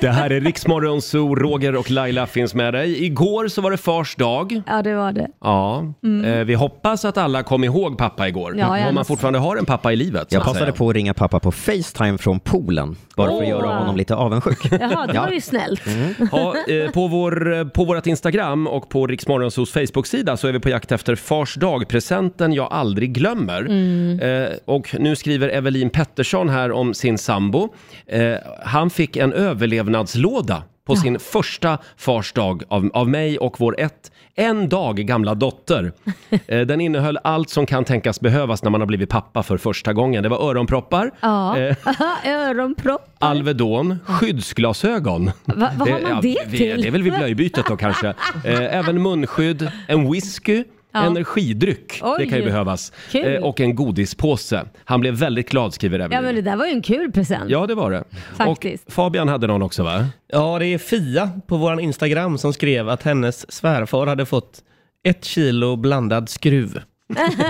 [SPEAKER 1] Det här är Riksmorgon, så Roger och Laila finns med dig. Igår så var det fars dag.
[SPEAKER 2] Ja, det var det.
[SPEAKER 1] Ja,
[SPEAKER 2] Mm.
[SPEAKER 1] eh, vi hoppas att alla kom ihåg pappa igår.
[SPEAKER 2] Ja,
[SPEAKER 1] om man
[SPEAKER 2] annars-
[SPEAKER 1] fortfarande har en pappa i livet. så
[SPEAKER 8] Jag
[SPEAKER 1] att
[SPEAKER 8] passade
[SPEAKER 1] säga.
[SPEAKER 8] på att ringa pappa på Facetime från Polen, bara för
[SPEAKER 1] Åh.
[SPEAKER 8] att göra honom lite avundsjuk.
[SPEAKER 2] [laughs] Jaha, det
[SPEAKER 8] Ja.
[SPEAKER 2] var ju snällt.
[SPEAKER 14] Mm.
[SPEAKER 1] Ja, eh, på, vår, eh, på vårt Instagram och på Riksmorgonsos Facebook-sida så är vi på jakt efter Fars dag-presenten jag aldrig glömmer.
[SPEAKER 3] Mm.
[SPEAKER 1] Eh, och nu skriver Evelin Pettersson här om sin sambo. Eh, han fick en överlevnadslåda på sin första Fars dag av, av mig och vår ett, en dag gamla dotter. Eh, den innehöll allt som kan tänkas behövas när man har blivit pappa för första gången. Det var öronproppar,
[SPEAKER 2] Ja.
[SPEAKER 1] eh,
[SPEAKER 2] Öronpropp.
[SPEAKER 1] Alvedon, skyddsglasögon.
[SPEAKER 2] Va- vad har man det
[SPEAKER 1] vi-
[SPEAKER 2] till?
[SPEAKER 1] Det är väl vid blöjbytet då
[SPEAKER 2] [laughs]
[SPEAKER 1] kanske. Eh, även munskydd, en whisky,
[SPEAKER 2] Ja.
[SPEAKER 1] energidryck, det
[SPEAKER 2] Oj.
[SPEAKER 1] kan ju behövas. Eh,
[SPEAKER 2] Kul.
[SPEAKER 1] och en godispåse. Han blev väldigt glad skriver
[SPEAKER 2] Ja,
[SPEAKER 1] Evelyn.
[SPEAKER 2] men det där var ju en kul present.
[SPEAKER 1] Ja, det var det.
[SPEAKER 2] Faktiskt.
[SPEAKER 1] Och Fabian hade någon också va?
[SPEAKER 14] Ja, det är Fia på vår Instagram som skrev att hennes svärfar hade fått ett kilo blandad skruv.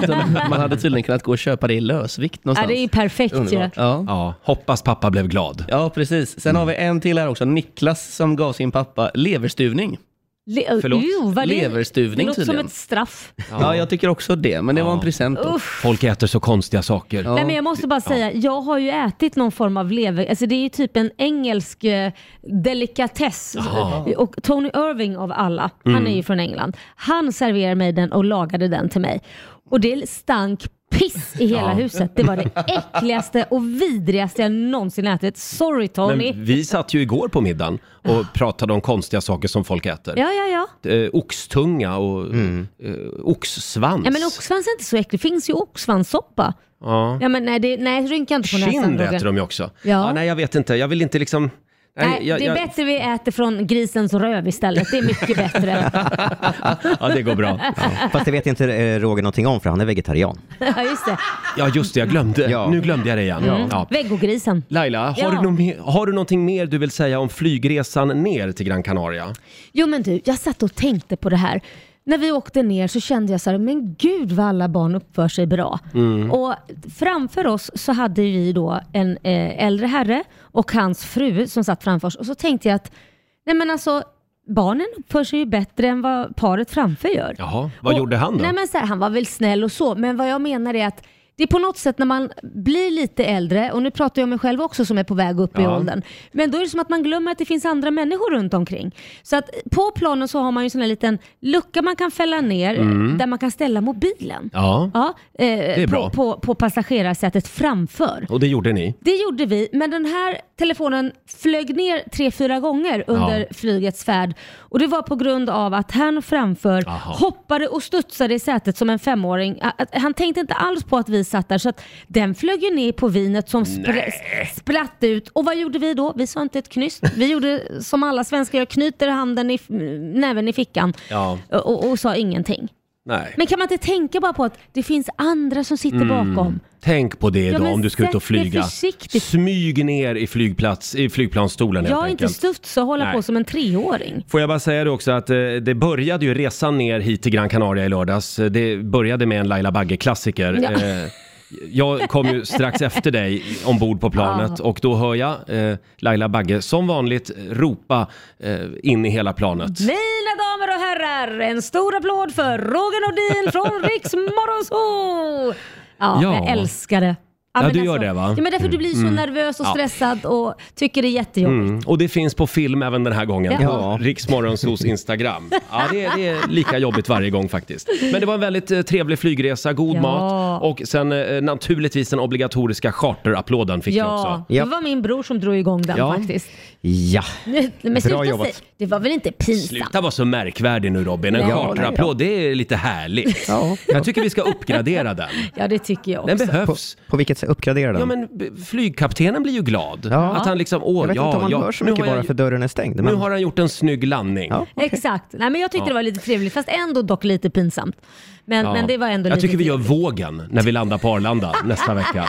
[SPEAKER 14] Så Man hade tydligen kunnat gå och köpa det i lösvikt
[SPEAKER 2] Ja,
[SPEAKER 14] någonstans.
[SPEAKER 2] det är ju perfekt ju.
[SPEAKER 14] Underbart. Ja.
[SPEAKER 1] hoppas pappa blev glad.
[SPEAKER 14] Ja, precis. Sen har vi en till här också, Niklas som gav sin pappa leverstuvning.
[SPEAKER 2] Le-
[SPEAKER 14] Förlåt?
[SPEAKER 2] Jo, vad det-
[SPEAKER 14] Leverstuvning
[SPEAKER 2] Det låter som
[SPEAKER 14] tydligen.
[SPEAKER 2] ett straff.
[SPEAKER 14] Ja. jag tycker också det, men det var en present då.
[SPEAKER 2] Uff.
[SPEAKER 1] Folk äter så konstiga saker.
[SPEAKER 2] Nej, men jag måste bara säga, jag har ju ätit någon form av lever... Alltså det är ju typ en engelsk eh, delikatess.
[SPEAKER 1] Jaha.
[SPEAKER 2] Och Tony Irving av alla, han
[SPEAKER 1] Mm.
[SPEAKER 2] är ju från England. Han serverade mig den och lagade den till mig. Och det stank piss i hela
[SPEAKER 1] Ja.
[SPEAKER 2] huset. Det var det äckligaste och vidrigaste jag någonsin ätit. Sorry Tony.
[SPEAKER 1] Men vi satt ju igår på middagen och pratade om konstiga saker som folk äter.
[SPEAKER 2] Ah. Ja, ja, ja.
[SPEAKER 1] Eh, oxtunga och
[SPEAKER 14] Mm.
[SPEAKER 1] eh, oxsvans.
[SPEAKER 2] Ja, men oxsvans är inte så äckligt. Det finns ju oxsvanssoppa.
[SPEAKER 1] Ja.
[SPEAKER 2] Ja, men nej, det, nej, rynka inte på näsan
[SPEAKER 1] Kind
[SPEAKER 2] Roger.
[SPEAKER 1] äter de ju också.
[SPEAKER 2] Ja.
[SPEAKER 1] Ah, nej, jag vet inte. Jag vill inte liksom...
[SPEAKER 2] Nej,
[SPEAKER 1] jag,
[SPEAKER 2] det är
[SPEAKER 1] jag-
[SPEAKER 2] bättre vi äter från grisens röv istället. Det är
[SPEAKER 1] [laughs]
[SPEAKER 2] mycket bättre.
[SPEAKER 1] Ja, det går bra.
[SPEAKER 8] Fast det vet inte eh, Roger någonting om, för han är vegetarian.
[SPEAKER 2] [laughs] ja, just det.
[SPEAKER 1] Ja, just det. Jag glömde. Nu glömde jag det igen.
[SPEAKER 2] Mm.
[SPEAKER 1] Ja.
[SPEAKER 2] Veggogrisen.
[SPEAKER 1] Laila, har,
[SPEAKER 2] Ja.
[SPEAKER 1] du någon, me- har du någonting mer du vill säga om flygresan ner till Gran Canaria?
[SPEAKER 2] Jo men du, jag satt och tänkte på det här. När vi åkte ner så kände jag så här, men gud vad alla barn uppför sig bra.
[SPEAKER 20] Mm.
[SPEAKER 2] Och framför oss så hade vi då en eh, äldre herre och hans fru som satt framför oss. Och så tänkte jag att, nej men alltså, barnen uppför sig ju bättre än vad paret framför gör.
[SPEAKER 1] Jaha, vad
[SPEAKER 2] Och-
[SPEAKER 1] gjorde han då?
[SPEAKER 2] Nej, men så här, han var väl snäll och så, men vad jag menar är att det är på något sätt när man blir lite äldre, och nu pratar jag om mig själv också som är på väg upp i
[SPEAKER 20] Ja.
[SPEAKER 2] åldern, men då är det som att man glömmer att det finns andra människor runt omkring. Så att på planen så har man ju en sån här liten lucka man kan fälla ner
[SPEAKER 1] Mm.
[SPEAKER 2] där man kan ställa mobilen.
[SPEAKER 1] Ja.
[SPEAKER 2] eh,
[SPEAKER 1] är bra.
[SPEAKER 2] På, på, på passagerarsätet framför.
[SPEAKER 1] Och det gjorde ni?
[SPEAKER 2] Det gjorde vi, men den här telefonen flög ner tre, fyra gånger under
[SPEAKER 1] Ja.
[SPEAKER 2] flygets färd. Och det var på grund av att han framför
[SPEAKER 20] Aha.
[SPEAKER 2] hoppade och studsade i sätet som en femåring. Ä- att- Han tänkte inte alls på att vi satt där, så att den flög ju ner på vinet som spr-
[SPEAKER 20] Nej.
[SPEAKER 2] spratt ut. Och vad gjorde vi då? Vi sa inte ett knyst. Vi gjorde som alla svenskar gör, knyter handen i f- näven i fickan
[SPEAKER 1] Ja.
[SPEAKER 2] och, och sa ingenting.
[SPEAKER 1] Nej.
[SPEAKER 2] Men kan man inte tänka bara på att det finns andra som sitter
[SPEAKER 1] Mm.
[SPEAKER 2] bakom?
[SPEAKER 1] Tänk på det
[SPEAKER 2] Ja,
[SPEAKER 1] då
[SPEAKER 2] men
[SPEAKER 1] om du ska ut och
[SPEAKER 2] sätt dig
[SPEAKER 1] flyga.
[SPEAKER 2] försiktigt.
[SPEAKER 1] Smyg ner i, flygplats, i flygplansstolen helt
[SPEAKER 2] Jag är inte
[SPEAKER 1] enkelt.
[SPEAKER 2] stufsig och hålla
[SPEAKER 1] Nej.
[SPEAKER 2] på som en treåring.
[SPEAKER 1] Får jag bara säga det också att eh, det började ju resan ner hit till Gran Canaria i lördags. Eh, Det började med en Laila Bagge-klassiker.
[SPEAKER 2] Ja.
[SPEAKER 1] Eh, jag kom ju strax efter dig ombord på planet
[SPEAKER 2] Ja.
[SPEAKER 1] och då hör jag eh, Laila Bagge som vanligt ropa eh, in i hela planet.
[SPEAKER 2] Mina damer och herrar, en stor applåd för Roger
[SPEAKER 1] [laughs]
[SPEAKER 2] Nordin från Riks Morgonzoo! Ja,
[SPEAKER 1] Ja.
[SPEAKER 2] jag älskar det.
[SPEAKER 1] Ja,
[SPEAKER 2] men alltså-
[SPEAKER 1] du gör det, va?
[SPEAKER 2] Ja, men därför du blir så
[SPEAKER 1] Mm.
[SPEAKER 2] nervös och
[SPEAKER 1] Ja.
[SPEAKER 2] stressad och tycker det är jättejobbigt.
[SPEAKER 1] Mm. Och det finns på film även den här gången
[SPEAKER 2] Ja.
[SPEAKER 1] på Riksmorgonsos Instagram. Ja, det är, det är lika jobbigt varje gång faktiskt. Men det var en väldigt eh, trevlig flygresa, god
[SPEAKER 2] Ja.
[SPEAKER 1] mat och sen eh, naturligtvis den obligatoriska charterapplåden fick jag
[SPEAKER 2] Ja,
[SPEAKER 1] också.
[SPEAKER 2] det var min bror som drog igång den
[SPEAKER 1] Ja.
[SPEAKER 2] faktiskt.
[SPEAKER 1] Ja.
[SPEAKER 2] Nej, Men
[SPEAKER 1] Bra
[SPEAKER 2] sluta
[SPEAKER 1] jobbat.
[SPEAKER 2] säga, det var väl inte pinsamt?
[SPEAKER 1] Sluta vara så märkvärdig nu Robin, en
[SPEAKER 2] Ja,
[SPEAKER 1] charterapplåd det är lite härligt. Jag tycker vi ska uppgradera den.
[SPEAKER 8] [laughs]
[SPEAKER 2] Ja, det tycker jag också.
[SPEAKER 1] Den behövs.
[SPEAKER 8] På vilket se- uppgradera den.
[SPEAKER 24] Ja, men b- flygkaptenen blir ju glad. Att han liksom, åh,
[SPEAKER 8] jag vet
[SPEAKER 24] ja,
[SPEAKER 8] inte om man
[SPEAKER 24] ja,
[SPEAKER 8] hör så
[SPEAKER 24] nu
[SPEAKER 8] mycket
[SPEAKER 24] har jag
[SPEAKER 8] bara
[SPEAKER 24] ju-
[SPEAKER 8] för dörren är stängd.
[SPEAKER 24] Nu
[SPEAKER 8] men-
[SPEAKER 24] har han gjort en snygg landning.
[SPEAKER 2] Exakt. Nej, men jag tyckte
[SPEAKER 24] Ja.
[SPEAKER 2] det var lite trevligt fast ändå dock lite pinsamt. Men,
[SPEAKER 24] Ja.
[SPEAKER 2] men det var ändå
[SPEAKER 24] Jag
[SPEAKER 2] lite
[SPEAKER 24] tycker vi gör vågen när vi landar på
[SPEAKER 2] [laughs]
[SPEAKER 24] Arlanda nästa vecka.